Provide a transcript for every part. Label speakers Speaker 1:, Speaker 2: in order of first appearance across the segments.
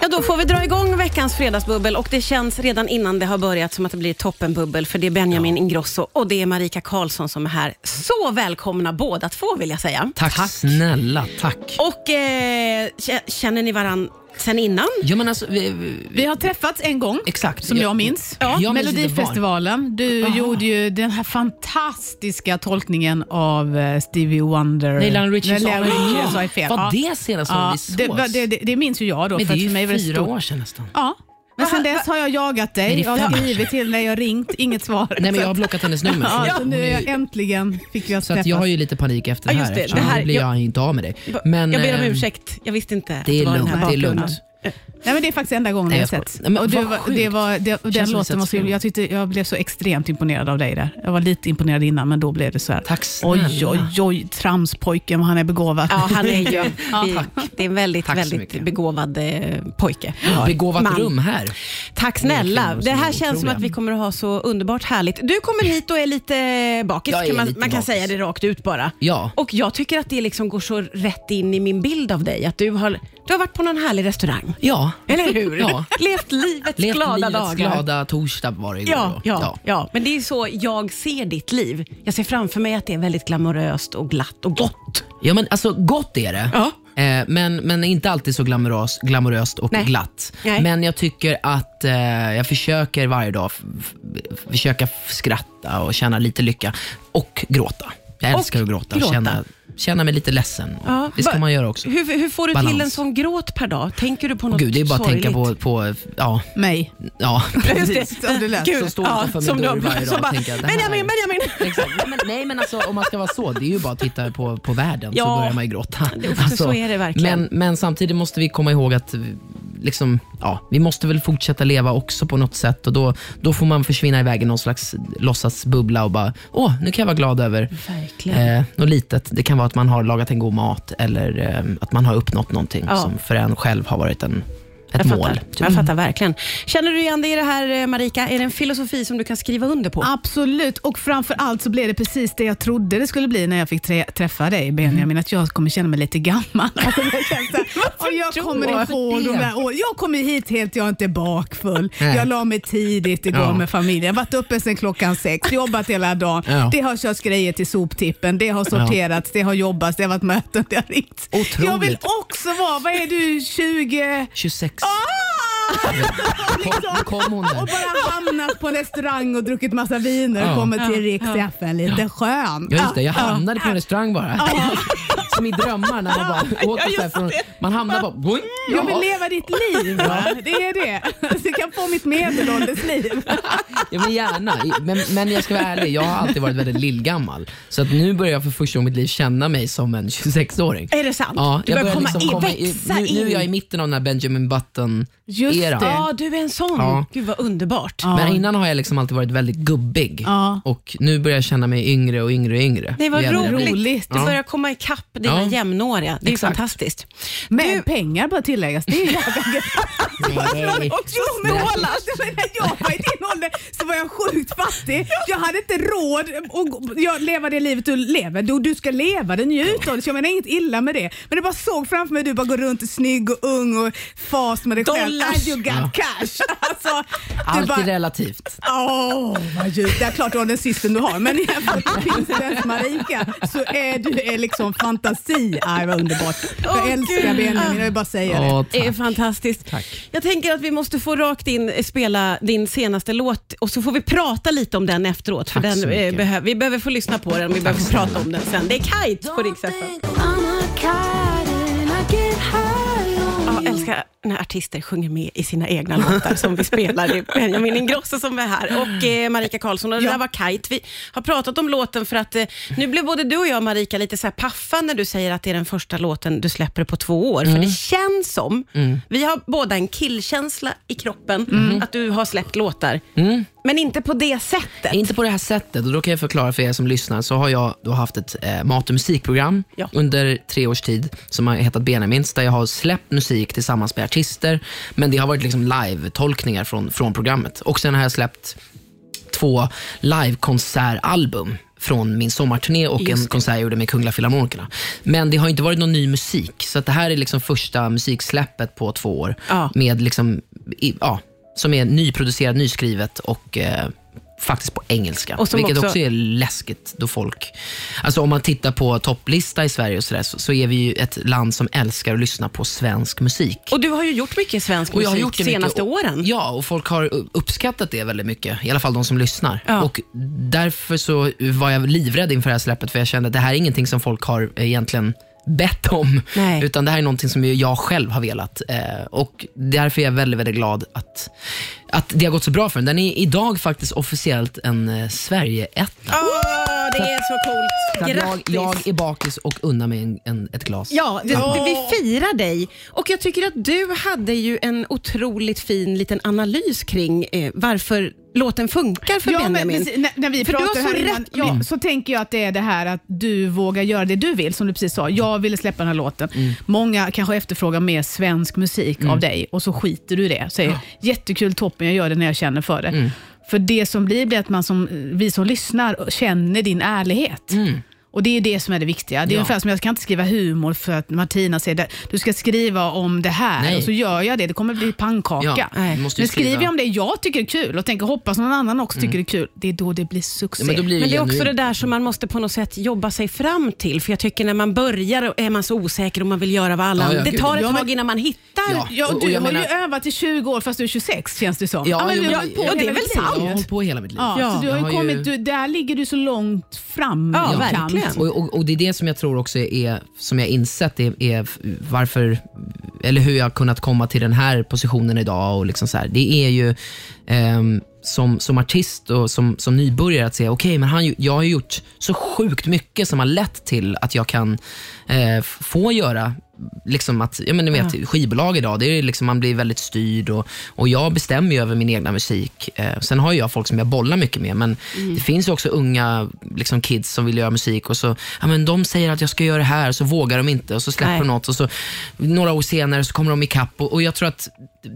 Speaker 1: Ja, då får vi dra igång veckans fredagsbubbel och det känns redan innan det har börjat som att det blir toppenbubbel för det är Benjamin Ingrosso och det är Marika Karlsson som är här. Så välkomna båda två vill jag säga.
Speaker 2: Tack, snälla, tack.
Speaker 1: Och eh, k- känner ni varann sen innan?
Speaker 2: Ja, men alltså, vi, vi,
Speaker 3: Vi har träffats en gång,
Speaker 2: exakt.
Speaker 3: som jag minns.
Speaker 2: Ja. Jag minns inte Ah.
Speaker 3: Melodifestivalen. Du gjorde ju den här fantastiska tolkningen av eh, Stevie Wonder.
Speaker 2: Leila Richardson.
Speaker 3: Leila Richardson sa jag fel.
Speaker 2: Var
Speaker 3: Ja.
Speaker 2: det senast som
Speaker 3: Ja,
Speaker 2: vi sågs?
Speaker 3: det, var- det, det, det minns ju jag då.
Speaker 2: men det
Speaker 3: för
Speaker 2: är
Speaker 3: att för mig
Speaker 2: ju
Speaker 3: var det
Speaker 2: fyra
Speaker 3: stort.
Speaker 2: år sedan nästan.
Speaker 3: Ja. Men sen dess har jag jagat
Speaker 2: Är
Speaker 3: dig.
Speaker 2: det
Speaker 3: Jag har
Speaker 2: fem?
Speaker 3: skrivit till dig, jag har ringt, inget svar.
Speaker 2: Nej, men jag har
Speaker 3: Så att-
Speaker 2: blockat hennes nummer. så att
Speaker 3: ja, så
Speaker 2: hon
Speaker 3: nu är
Speaker 2: är-
Speaker 3: jag äntligen fick vi oss
Speaker 2: Så att
Speaker 3: träffas.
Speaker 2: jag har ju lite panik efter det
Speaker 1: Ja,
Speaker 2: här,
Speaker 1: just det.
Speaker 2: eftersom
Speaker 1: Det här-
Speaker 2: då blir jag, inte av med dig. Men,
Speaker 1: jag ber om
Speaker 2: eh,
Speaker 1: ursäkt, jag visste inte att
Speaker 2: Det är
Speaker 1: var den
Speaker 2: lugnt.
Speaker 1: här
Speaker 2: Det är
Speaker 1: bakgrunden.
Speaker 2: lugnt.
Speaker 3: Nej, men det är faktiskt enda gången
Speaker 2: Nej,
Speaker 3: jag
Speaker 2: jag skojar.
Speaker 3: har sett.
Speaker 2: Nej, men
Speaker 3: Och det
Speaker 2: vad
Speaker 3: var,
Speaker 2: sjukt.
Speaker 3: det var, det,
Speaker 2: som vi
Speaker 3: den låten var
Speaker 2: sett
Speaker 3: så
Speaker 2: film.
Speaker 3: jag, tyckte, jag blev så extremt imponerad av dig där. Jag var lite imponerad innan, men då blev det så här.
Speaker 2: Tack snälla.
Speaker 3: Oj, oj, oj, tramspojken vad han är begåvad.
Speaker 1: Ja, han är ju vi, det är en väldigt,
Speaker 2: Tack så
Speaker 1: väldigt
Speaker 2: mycket.
Speaker 1: begåvad eh, pojke.
Speaker 2: Begåvat
Speaker 1: Man.
Speaker 2: rum här.
Speaker 1: Tack
Speaker 2: Många
Speaker 1: snälla.
Speaker 2: filmer
Speaker 1: Det
Speaker 2: som är
Speaker 1: här känns som
Speaker 2: otroliga.
Speaker 1: att vi kommer att ha så underbart härligt. Du kommer hit och är lite bakis.
Speaker 2: Jag är
Speaker 1: Kan man,
Speaker 2: lite
Speaker 1: man kan
Speaker 2: bakis.
Speaker 1: säga det rakt ut bara.
Speaker 2: Ja.
Speaker 1: Och jag tycker att det liksom går så rätt in i min bild av dig. Att du har, du har varit på någon härlig restaurang.
Speaker 2: Ja.
Speaker 1: Eller hur?
Speaker 2: Ja.
Speaker 1: Levt livets
Speaker 2: Levt
Speaker 1: glada
Speaker 2: livets
Speaker 1: dagar.
Speaker 2: glada torsdag var det igår.
Speaker 1: Ja,
Speaker 2: då.
Speaker 1: ja, ja. men det är så jag ser ditt liv. Jag ser framför mig att det är väldigt glamoröst och glatt och gott.
Speaker 2: Ja, men alltså gott är det.
Speaker 1: Ja.
Speaker 2: Eh, Men, men inte alltid så glamorös, glamoröst och
Speaker 1: Nej.
Speaker 2: glatt.
Speaker 1: Nej.
Speaker 2: Men jag tycker att eh, jag försöker varje dag f- f- försöka f- skratta och känna lite lycka och gråta. Jag
Speaker 1: Och
Speaker 2: älskar att gråta.
Speaker 1: gråta.
Speaker 2: Känna, känna mig lite ledsen.
Speaker 1: Ja,
Speaker 2: Det ska
Speaker 1: va-
Speaker 2: man göra också.
Speaker 1: Hur, hur får du till
Speaker 2: Balans.
Speaker 1: en sån gråt per dag? Tänker du på något
Speaker 2: Gud, det är bara att
Speaker 1: sorgligt?
Speaker 2: tänka på, på ja,
Speaker 3: Mig.
Speaker 2: ja,
Speaker 3: Precis, som det lät.
Speaker 1: Gud,
Speaker 2: Som står utanför min
Speaker 1: som
Speaker 2: dörr
Speaker 1: de-
Speaker 2: varje dag
Speaker 1: som
Speaker 2: och
Speaker 1: bara,
Speaker 2: tänker att det här
Speaker 1: Benjamin,
Speaker 2: är-
Speaker 1: Benjamin!
Speaker 2: Exakt. Nej, men, nej men alltså om man ska vara så, det är ju bara att titta på, på världen
Speaker 1: Ja.
Speaker 2: så börjar man ju gråta. Alltså,
Speaker 1: Jo, så är det verkligen.
Speaker 2: Men, men samtidigt måste vi komma ihåg att liksom, ja, vi måste väl fortsätta leva också på något sätt och då, då får man försvinna iväg i någon slags låtsasbubbla och bara, åh, nu kan jag vara glad över
Speaker 1: Verkligen.
Speaker 2: eh, något litet. Det kan vara att man har lagat en god mat eller eh, att man har uppnått någonting
Speaker 1: Ja.
Speaker 2: som för en själv har varit en,
Speaker 1: jag
Speaker 2: ett mål. Mm.
Speaker 1: fattar. Jag fattar verkligen. Känner du igen dig i det här eh, Marika? Är det en filosofi som du kan skriva under på?
Speaker 3: Absolut, och framför allt så blev det precis det jag trodde det skulle bli när jag fick trä- träffa dig Benjamin, att jag kommer känna mig lite gammal. Mm. Alltså, jag känner så
Speaker 2: tror
Speaker 3: här, och jag kommer
Speaker 2: du?
Speaker 3: ihåg de där åren. Jag kommer hit helt, jag är inte bakfull.
Speaker 2: Nej.
Speaker 3: Jag la mig tidigt igår
Speaker 2: Ja.
Speaker 3: med familjen, varit uppe sedan klockan sex, jobbat hela dagen.
Speaker 2: Ja.
Speaker 3: Det har körts grejer till soptippen, det har sorterats, det har jobbats, det har varit möten, det har ringts.
Speaker 2: Otroligt.
Speaker 3: Jag vill också vara, vad är du, 20?
Speaker 2: 26.
Speaker 3: Ah! Liksom.
Speaker 2: Kom, kom hon
Speaker 3: Och
Speaker 2: där.
Speaker 3: bara hamnat på en restaurang och druckit massa viner och
Speaker 2: Ja.
Speaker 3: kommer till Riks FN. Lite skön.
Speaker 2: Ja just det, jag hamnade på en restaurang bara. Som i drömmar när man bara åt så
Speaker 3: Ja,
Speaker 2: här
Speaker 3: just
Speaker 2: från,
Speaker 3: det.
Speaker 2: man hamnar bara... boing,
Speaker 3: Jag vill
Speaker 2: jaha.
Speaker 3: leva ditt liv. va? Det är det. Så jag kan få mitt medelålders liv.
Speaker 2: Ja, men gärna. Men, men jag ska vara ärlig, jag har alltid varit väldigt lillgammal. Så att nu börjar jag för första gången i mitt liv känna mig som en 26-åring.
Speaker 1: Är det sant?
Speaker 2: Ja,
Speaker 1: Du
Speaker 2: jag liksom
Speaker 1: börjar komma i-
Speaker 2: i-
Speaker 1: växa
Speaker 2: nu, nu är jag i
Speaker 1: in.
Speaker 2: mitten av den här Benjamin
Speaker 3: Just
Speaker 2: Button-eran.
Speaker 3: det.
Speaker 1: Ja, du är en sån.
Speaker 2: Ja.
Speaker 1: Gud vad underbart.
Speaker 2: Men innan har jag liksom alltid varit väldigt gubbig
Speaker 3: Ja.
Speaker 2: och nu börjar jag känna mig yngre och yngre och yngre.
Speaker 1: Nej, vad
Speaker 2: Ju äldre jag blir.
Speaker 1: roligt.
Speaker 3: roligt.
Speaker 1: Du börjar komma ikapp dina
Speaker 2: Ja.
Speaker 1: jämnåriga. Det är
Speaker 2: Exakt.
Speaker 1: fantastiskt.
Speaker 3: Men pengar bör tilläggas. Det är jävla
Speaker 2: Nej.
Speaker 3: Jo, men Roland, när jag var i din ålder så var jag sjukt fattig. Jag hade inte råd att jag leva det livet du lever. Du, du ska leva det, njut av det. Så jag menar inget illa med det. Men det bara såg framför mig du bara går runt snygg och ung och fast med dig själv.
Speaker 1: Dollars.
Speaker 3: And you got cash. Alltså, du
Speaker 2: Allt är
Speaker 3: bara,
Speaker 2: relativt.
Speaker 3: Åh, vad djupt. Det är klart du har den systern du har, men jämfört med Pinsens Marika så är du är liksom fantasi. Aj, vad underbart. Jag
Speaker 1: Åh,
Speaker 3: älskar
Speaker 1: Gud.
Speaker 3: Benjamin, jag vill bara säga det. Eh,
Speaker 2: Ja,
Speaker 1: Det är
Speaker 2: tack.
Speaker 1: fantastiskt.
Speaker 2: Tack.
Speaker 1: Jag tänker att vi måste få rakt in eh, spela din senaste låt och så får vi prata lite om den efteråt. För
Speaker 2: Tack så
Speaker 1: den, eh,
Speaker 2: mycket.
Speaker 1: behö- vi behöver få lyssna på den och vi behöver få prata om den sen. Det är Kite på Rix FM. Ja,
Speaker 2: Mm.
Speaker 1: Jag älskar när artister sjunger med i sina egna låtar som vi spelar. Det är Benjamin Ingrosso som är här och eh, Marika Karlsson. Och det där var Kite. Vi har pratat om låten för att eh, nu blev både du och jag Marika lite så här paffa när du säger att det är den första låten du släpper på två år.
Speaker 2: Mm.
Speaker 1: För det känns som, vi har båda en killkänsla i kroppen,
Speaker 2: Mm.
Speaker 1: att du har släppt låtar. Men inte på det sättet.
Speaker 2: Inte på det här sättet. Och då kan jag förklara för er som lyssnar. Så har jag då haft ett eh, mat och musikprogram
Speaker 1: Ja.
Speaker 2: under tre års tid som har hetat Benjamins, där jag har släppt musik tillsammans med artister. Men det har varit liksom live-tolkningar från, från programmet. Och sen har jag släppt två livekonsertalbum från min sommarturné och en konsert jag gjorde med Kungliga Filharmonikerna. Men det har inte varit någon ny musik, så att det här är liksom första musiksläppet på två år.
Speaker 1: Ja.
Speaker 2: Med liksom, i, ja, som är nyproducerat, nyskrivet och eh, faktiskt på engelska.
Speaker 1: Och som
Speaker 2: vilket
Speaker 1: också-
Speaker 2: också är läskigt då folk... Alltså om man tittar på topplista i Sverige och så, där, så, så är vi ju ett land som älskar att lyssna på svensk musik.
Speaker 1: Och du har ju gjort mycket svensk
Speaker 2: Och
Speaker 1: musik
Speaker 2: jag har gjort det
Speaker 1: senaste
Speaker 2: mycket, och,
Speaker 1: åren.
Speaker 2: Ja, och folk har uppskattat det väldigt mycket. I alla fall de som lyssnar.
Speaker 1: Ja.
Speaker 2: Och därför så var jag livrädd inför det här släppet, för jag kände att det här är ingenting som folk har egentligen bett om.
Speaker 1: Nej.
Speaker 2: Utan det här är någonting som ju jag själv har velat. Eh, och därför är jag väldigt, väldigt glad att, att det har gått så bra för den. Den är idag faktiskt officiellt en eh, Sverige-etta.
Speaker 1: Åh, Ah, det är så
Speaker 2: Så
Speaker 1: coolt.
Speaker 2: att Jag,
Speaker 1: Grattis.
Speaker 2: jag är bakis och unnar mig en, en, ett glas.
Speaker 1: Ja, det,
Speaker 2: Ja.
Speaker 1: det, vi firar dig. Och jag tycker att du hade ju en otroligt fin liten analys kring eh, varför låten funkar för
Speaker 3: Ja, men
Speaker 1: Benjamin.
Speaker 3: precis, när, när vi
Speaker 1: För du har
Speaker 3: pratar
Speaker 1: så
Speaker 3: här innan,
Speaker 1: rätt,
Speaker 3: ja, så tänker jag att det är det här att du vågar göra det du vill, som du precis sa. Jag ville släppa den här låten. Många kanske efterfrågar mer svensk musik av dig och så skiter du i det. Säger, Jättekul, toppen, jag gör det när jag känner för det. För det som blir, blir att man som, vi som lyssnar känner din ärlighet. Och Det är det som är det viktiga. Det är
Speaker 2: Ja.
Speaker 3: ungefär som jag ska inte skriva humor för att Martina säger det. du ska skriva om det här
Speaker 2: Nej.
Speaker 3: och så gör jag det. Det kommer bli pannkaka.
Speaker 2: Ja,
Speaker 1: Nej.
Speaker 2: du måste ju
Speaker 3: Men skriver
Speaker 2: skriva.
Speaker 3: jag om det jag tycker är kul och tänker hoppas någon annan också tycker det är kul, det är då det blir succé.
Speaker 2: Ja, men då blir
Speaker 1: Men det är
Speaker 2: genuint.
Speaker 1: också det där som man måste på något sätt jobba sig fram till. För jag tycker när man börjar är man så osäker och man vill göra vad alla
Speaker 2: Ja, ja,
Speaker 1: andra... Det
Speaker 2: gud.
Speaker 1: tar ett
Speaker 3: Ja, men-
Speaker 1: tag innan man hittar.
Speaker 2: Ja.
Speaker 3: Ja, och
Speaker 2: Och-
Speaker 3: du
Speaker 2: och jag
Speaker 3: har ju
Speaker 2: menar-
Speaker 3: övat i 20 år fast du är 26 känns det som.
Speaker 2: Ja,
Speaker 3: men
Speaker 2: jo,
Speaker 3: du
Speaker 2: men-
Speaker 3: har hållit på
Speaker 2: ja,
Speaker 1: det
Speaker 3: hela
Speaker 1: är väl
Speaker 3: ditt
Speaker 2: Jag
Speaker 1: sant.
Speaker 3: liv.
Speaker 2: har hållit på hela mitt liv.
Speaker 3: Ja,
Speaker 1: Ja.
Speaker 3: Så du
Speaker 2: Jag
Speaker 3: har ju
Speaker 2: har ju-
Speaker 3: kommit, du, där ligger du så långt fram.
Speaker 1: Ja,
Speaker 3: i kant.
Speaker 1: verkligen.
Speaker 2: Och, och, och Det är det som jag tror också är, som jag insett, är, är f- varför, eller hur jag har kunnat komma till den här positionen idag. Och liksom så här. Det är ju ehm, som, som artist och som, som nybörjare att säga, okej, men han, ju- jag har ju gjort så sjukt mycket som har lett till att jag kan eh, f- få göra Liksom att, ja men ni vet, Skivbolag idag, det är liksom, man blir väldigt styrd och, och jag bestämmer ju över min egna musik. Eh, sen har ju jag folk som jag bollar mycket med, men
Speaker 1: Mm.
Speaker 2: det finns ju också unga liksom, kids som vill göra musik och så, ja, men de säger att jag ska göra det här, så vågar de inte och så släpper
Speaker 1: Nej.
Speaker 2: de något och så några år senare så kommer de ikapp. Och, och jag tror att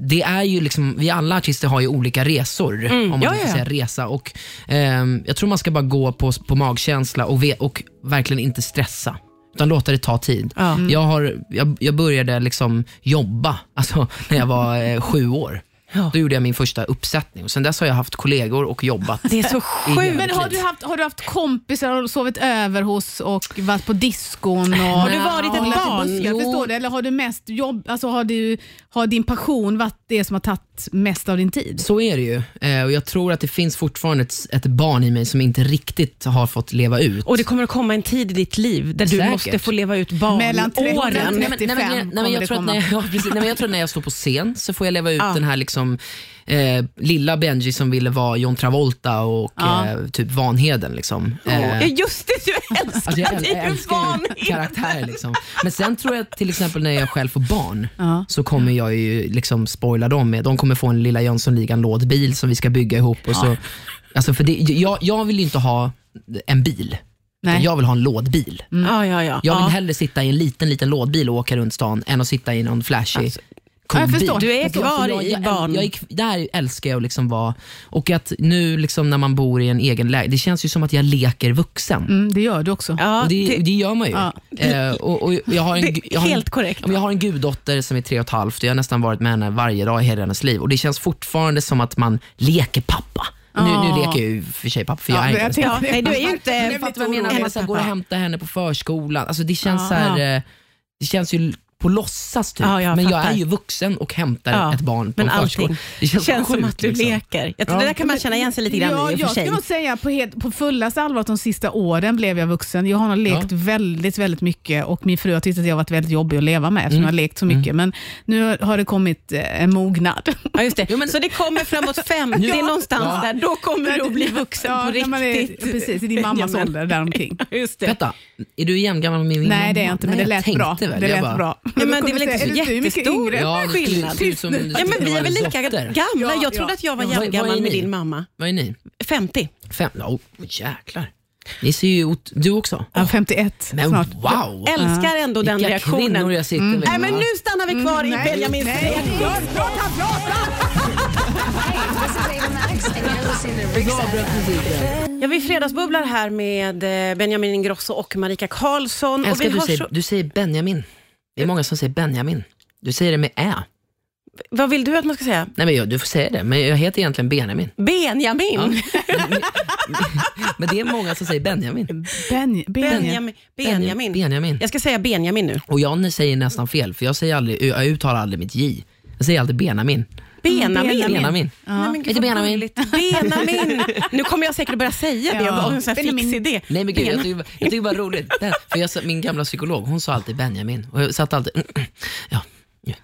Speaker 2: det är ju liksom, vi alla artister har ju olika resor, om man
Speaker 1: Mm. ja,
Speaker 2: ska
Speaker 1: ja.
Speaker 2: säga resa. Och, ehm, jag tror man ska bara gå på, på magkänsla och, ve- och verkligen inte stressa. Utan låta det ta tid.
Speaker 1: Ja. Mm.
Speaker 2: Jag, har, jag, jag började liksom jobba alltså, när jag var eh, sju år.
Speaker 1: Ja.
Speaker 2: Då gjorde jag min första uppsättning. Och sen dess har jag haft kollegor och jobbat.
Speaker 1: Det är så
Speaker 2: jävligt.
Speaker 1: sjukt.
Speaker 3: Mm. Men har du, haft, har du haft kompisar och sovit över hos och varit på diskon? Och, har
Speaker 1: du varit ett barn?
Speaker 2: Jo.
Speaker 3: Förstår du? Eller har du mest jobb, alltså har, du, har din passion varit det som har tagit mest av din tid?
Speaker 2: Så är det ju. Eh, och jag tror att det finns fortfarande ett, ett barn i mig som inte riktigt har fått leva ut.
Speaker 1: Och det kommer att komma en tid i ditt liv där du
Speaker 2: Säkert.
Speaker 1: måste få leva ut barnåren.
Speaker 3: Mellan 30 och
Speaker 1: åren.
Speaker 3: 35.
Speaker 2: Nej, men, nej, men, nej, men
Speaker 3: kommer det
Speaker 2: jag tror att
Speaker 3: komma.
Speaker 2: när jag, ja, precis, nej, men jag tror att när jag står på scen så får jag leva ut
Speaker 1: Ja.
Speaker 2: den här liksom, eh, lilla Benji som ville vara John Travolta och
Speaker 3: Ja.
Speaker 2: eh, typ Vanheden. Liksom. Eh,
Speaker 1: Ja, just det, du älskar
Speaker 2: Alltså jag, äl-
Speaker 1: det.
Speaker 2: jag
Speaker 1: är ju
Speaker 2: älskar ju
Speaker 1: vanligt.
Speaker 2: karaktärer. Liksom. Men sen tror jag att till exempel när jag själv får barn
Speaker 3: Ja.
Speaker 2: så kommer jag ju liksom spoila dem. med- De kommer få en lilla Jönssonligan lådbil som vi ska bygga ihop. Och så, alltså för det, jag, jag vill ju inte ha en bil.
Speaker 3: Nej.
Speaker 2: Jag vill ha en lådbil.
Speaker 1: Ja, ja, ja.
Speaker 2: Jag vill
Speaker 1: ja.
Speaker 2: hellre sitta i en liten, liten lådbil och åka runt stan än att sitta i någon flashig
Speaker 3: Ja, jag
Speaker 2: kombi.
Speaker 3: förstår.
Speaker 1: Alltså, Du är
Speaker 2: Alltså,
Speaker 1: kvar
Speaker 2: jag-
Speaker 1: i
Speaker 2: jag-
Speaker 1: barn.
Speaker 2: Jag, är- där älskar jag att liksom vara, och att nu liksom när man bor i en egen lägenhet, det känns ju som att jag leker vuxen.
Speaker 3: Mm, det gör du också.
Speaker 1: Ja,
Speaker 2: Och det, det,
Speaker 1: det-
Speaker 2: gör man ju.
Speaker 3: Ja.
Speaker 2: Eh, och, och jag har en,
Speaker 1: Det är
Speaker 2: gu- jag har en,
Speaker 1: helt korrekt.
Speaker 2: Ja, men Jag har en guddotter som är tre och ett halvt och jag har nästan varit med henne varje dag i hela hennes liv. Och Det känns fortfarande som att man leker pappa. Nu,
Speaker 3: Ja.
Speaker 2: nu leker jag ju för sig pappa, för
Speaker 3: Ja,
Speaker 2: jag är
Speaker 3: men
Speaker 2: inte
Speaker 3: jag
Speaker 2: ens
Speaker 3: tänkte-
Speaker 1: Ja, nej, du är ju inte-
Speaker 3: Jag blev
Speaker 1: fattar
Speaker 3: lite
Speaker 1: vad jag menar.
Speaker 3: orolig.
Speaker 2: Hennes pappa går och hämtar henne på förskolan. Alltså det känns
Speaker 3: Ja.
Speaker 2: så här, eh, det känns ju på låtsas typ.
Speaker 1: Ja, jag
Speaker 2: men jag
Speaker 1: fattar.
Speaker 2: är ju vuxen och hämtar
Speaker 1: Ja,
Speaker 2: ett barn på
Speaker 1: men
Speaker 2: en förskola.
Speaker 1: allting känns, som
Speaker 2: sjukt,
Speaker 1: att du
Speaker 2: liksom.
Speaker 1: leker. Jag tror
Speaker 2: Ja.
Speaker 1: Det där kan man känna igen sig lite grann
Speaker 3: ja,
Speaker 1: i och för
Speaker 3: jag
Speaker 1: sig.
Speaker 3: skulle nog säga på, helt, på fullaste allvar att de sista åren blev jag vuxen. Jag har nog lekt väldigt, väldigt mycket och min fru har tyckt att jag har varit väldigt jobbig att leva med
Speaker 2: Mm.
Speaker 3: eftersom jag har lekt så mycket. Men nu har det kommit eh, en mognad.
Speaker 1: Ja, just det.
Speaker 2: Jo, men-
Speaker 1: Så det kommer framåt 50
Speaker 2: Ja.
Speaker 1: någonstans
Speaker 2: Ja.
Speaker 1: där, då kommer du att bli vuxen
Speaker 3: ja,
Speaker 1: på
Speaker 3: när
Speaker 1: riktigt.
Speaker 3: man är, precis, i din mammas
Speaker 1: Jajamän.
Speaker 3: ålder däromkring.
Speaker 1: Just det.
Speaker 2: Vänta, är du jämngammal med min
Speaker 3: Nej,
Speaker 2: mamma?
Speaker 3: det är jag inte, men
Speaker 2: Nej,
Speaker 3: det
Speaker 2: jag
Speaker 3: lät
Speaker 2: tänkte
Speaker 3: bra.
Speaker 2: väl.
Speaker 3: Det
Speaker 2: Jag
Speaker 3: lät
Speaker 2: bara-
Speaker 3: bra.
Speaker 1: Ja, men
Speaker 3: Då
Speaker 1: det är väl
Speaker 3: kommer
Speaker 1: inte
Speaker 3: jag
Speaker 1: så
Speaker 3: säga, "Är du mycket
Speaker 1: jättestor
Speaker 3: yngre?"
Speaker 2: Ja, det skulle
Speaker 1: skillnad.
Speaker 2: se ut som du
Speaker 1: Ja, men
Speaker 2: skulle
Speaker 1: vi är
Speaker 2: vara
Speaker 1: väl
Speaker 2: hennes
Speaker 1: lika
Speaker 2: dotter.
Speaker 1: gamla.
Speaker 3: Ja,
Speaker 1: Jag trodde
Speaker 3: ja.
Speaker 1: att jag var
Speaker 2: Ja, vad- vad
Speaker 1: jämngammal
Speaker 2: är
Speaker 1: med
Speaker 2: ni?
Speaker 1: din mamma.
Speaker 2: Vad är ni?
Speaker 1: 50.
Speaker 2: Fem? Oh, jäklar. Ni ser ju ut... Du också?
Speaker 3: Ja, 51
Speaker 2: Men
Speaker 3: snart.
Speaker 2: wow!
Speaker 1: Älskar ändå den
Speaker 2: Vilka kvinnor
Speaker 1: reaktionen. Mm.
Speaker 2: jag Mm, sitter med.
Speaker 1: Nej, men
Speaker 2: va?
Speaker 1: nu stannar vi kvar i Benjamins
Speaker 3: nej.
Speaker 1: reaktion.
Speaker 4: This is Ava Max, and you're listening
Speaker 1: Ja, vi fredagsbubblar här med eh, Benjamin Ingrosso och Marika Karlsson. Och vi
Speaker 2: Älskar att du
Speaker 1: har
Speaker 2: säger,
Speaker 1: så,
Speaker 2: du säger Benjamin. Det är många som säger Benjamin. Du säger det med ä.
Speaker 1: vad vill du att man ska säga?
Speaker 2: Nej, men jag, du får säga det, men jag heter egentligen Benjamin.
Speaker 1: Benjamin.
Speaker 2: Men det är många som säger Benjamin.
Speaker 3: Ben, ben,
Speaker 1: Benjamin. Benjamin.
Speaker 2: Benjamin.
Speaker 1: Jag ska säga Benjamin nu.
Speaker 2: Och jag säger nästan fel, för jag, säger aldrig, jag uttalar aldrig mitt j. Jag säger alltid Benjamin.
Speaker 1: Benjamin.
Speaker 3: Benjamin.
Speaker 2: Benjamin.
Speaker 1: Nej, men gud,
Speaker 2: Inte
Speaker 1: vad
Speaker 2: Benjamin.
Speaker 1: gulligt. Benjamin. Nu kommer jag säkert börja säga det. Jag
Speaker 3: Ja.
Speaker 1: bara, en sån här fix
Speaker 3: Benjamin.
Speaker 1: idé.
Speaker 2: Nej men gud, jag
Speaker 1: Benjamin.
Speaker 2: tycker, jag tycker det var roligt. Det, för jag, sa- min gamla psykolog, hon sa alltid Benjamin. Och jag satt alltid, ja. ja,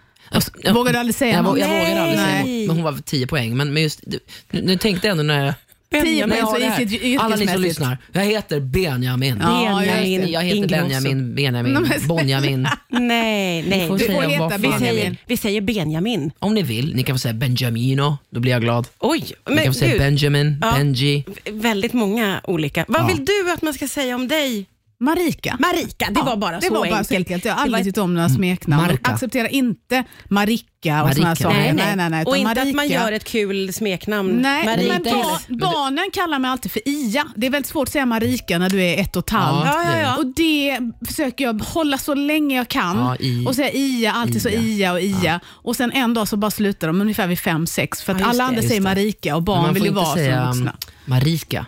Speaker 2: ja.
Speaker 3: Vågade aldrig säga
Speaker 2: jag,
Speaker 3: något.
Speaker 2: vå- jag vågade aldrig säga
Speaker 1: Nej.
Speaker 2: något. Men hon var 10 poäng. Men, men just, du- nu, nu tänkte jag ändå när jag,
Speaker 3: Tio
Speaker 2: när
Speaker 1: Benjamin.
Speaker 2: jag
Speaker 3: poäng så
Speaker 2: har det
Speaker 3: yrkes-
Speaker 2: här. Alla ni som
Speaker 3: yrkesmässigt.
Speaker 2: lyssnar, jag heter Benjamin.
Speaker 3: Ja, just det.
Speaker 2: jag heter, jag heter
Speaker 1: Ingrosso.
Speaker 2: Benjamin, Benjamin,
Speaker 3: Nej, men-
Speaker 2: Bonjamin.
Speaker 1: Nej, nej.
Speaker 2: Får
Speaker 3: Du får
Speaker 2: säga
Speaker 3: heta
Speaker 2: vad fan
Speaker 1: Vi
Speaker 2: ni vill.
Speaker 1: säger, vi säger Benjamin.
Speaker 2: Om ni vill, ni kan få säga Benjamino, då blir jag glad.
Speaker 1: Oj,
Speaker 2: Ni
Speaker 1: men
Speaker 2: kan få säga
Speaker 1: gud.
Speaker 2: Benjamin,
Speaker 1: Ja.
Speaker 2: Benji.
Speaker 1: Väldigt många olika. Vad
Speaker 2: Ja.
Speaker 1: vill du att man ska säga om dig?
Speaker 3: Marika.
Speaker 1: Marika, det
Speaker 3: Ja,
Speaker 1: var bara
Speaker 3: det
Speaker 1: så
Speaker 3: var bara
Speaker 1: enkelt.
Speaker 3: så enkelt. Jag har aldrig tyckt om några smeknamn.
Speaker 2: Marika.
Speaker 3: Acceptera inte Marika och
Speaker 2: Marika.
Speaker 3: sådana saker.
Speaker 1: Nej, nej.
Speaker 3: nej, nej, nej.
Speaker 1: och
Speaker 3: utan
Speaker 1: inte att man
Speaker 3: Marika.
Speaker 1: gör ett kul smeknamn.
Speaker 3: Nej,
Speaker 1: Marika.
Speaker 3: men
Speaker 2: inte
Speaker 3: ba-
Speaker 2: heller. Men du-
Speaker 3: barnen kallar mig alltid för Ia. Det är väldigt svårt att säga Marika när du är ett och ett halvt.
Speaker 2: Ja,
Speaker 1: Ja, ja, ja.
Speaker 3: Och det försöker jag hålla så länge jag kan.
Speaker 2: Ja, i-
Speaker 3: och säga Ia, alltid så
Speaker 2: Ia.
Speaker 3: Ia och Ia. Och sen en dag så bara slutar de ungefär vid fem sex För att
Speaker 1: Ja, just
Speaker 3: alla
Speaker 1: det,
Speaker 3: andra
Speaker 2: just
Speaker 3: säger
Speaker 2: det.
Speaker 3: Marika och barn
Speaker 2: man
Speaker 3: vill
Speaker 2: får
Speaker 3: ju
Speaker 2: inte
Speaker 3: vara som
Speaker 2: säga um,
Speaker 3: vuxna.
Speaker 2: Marika,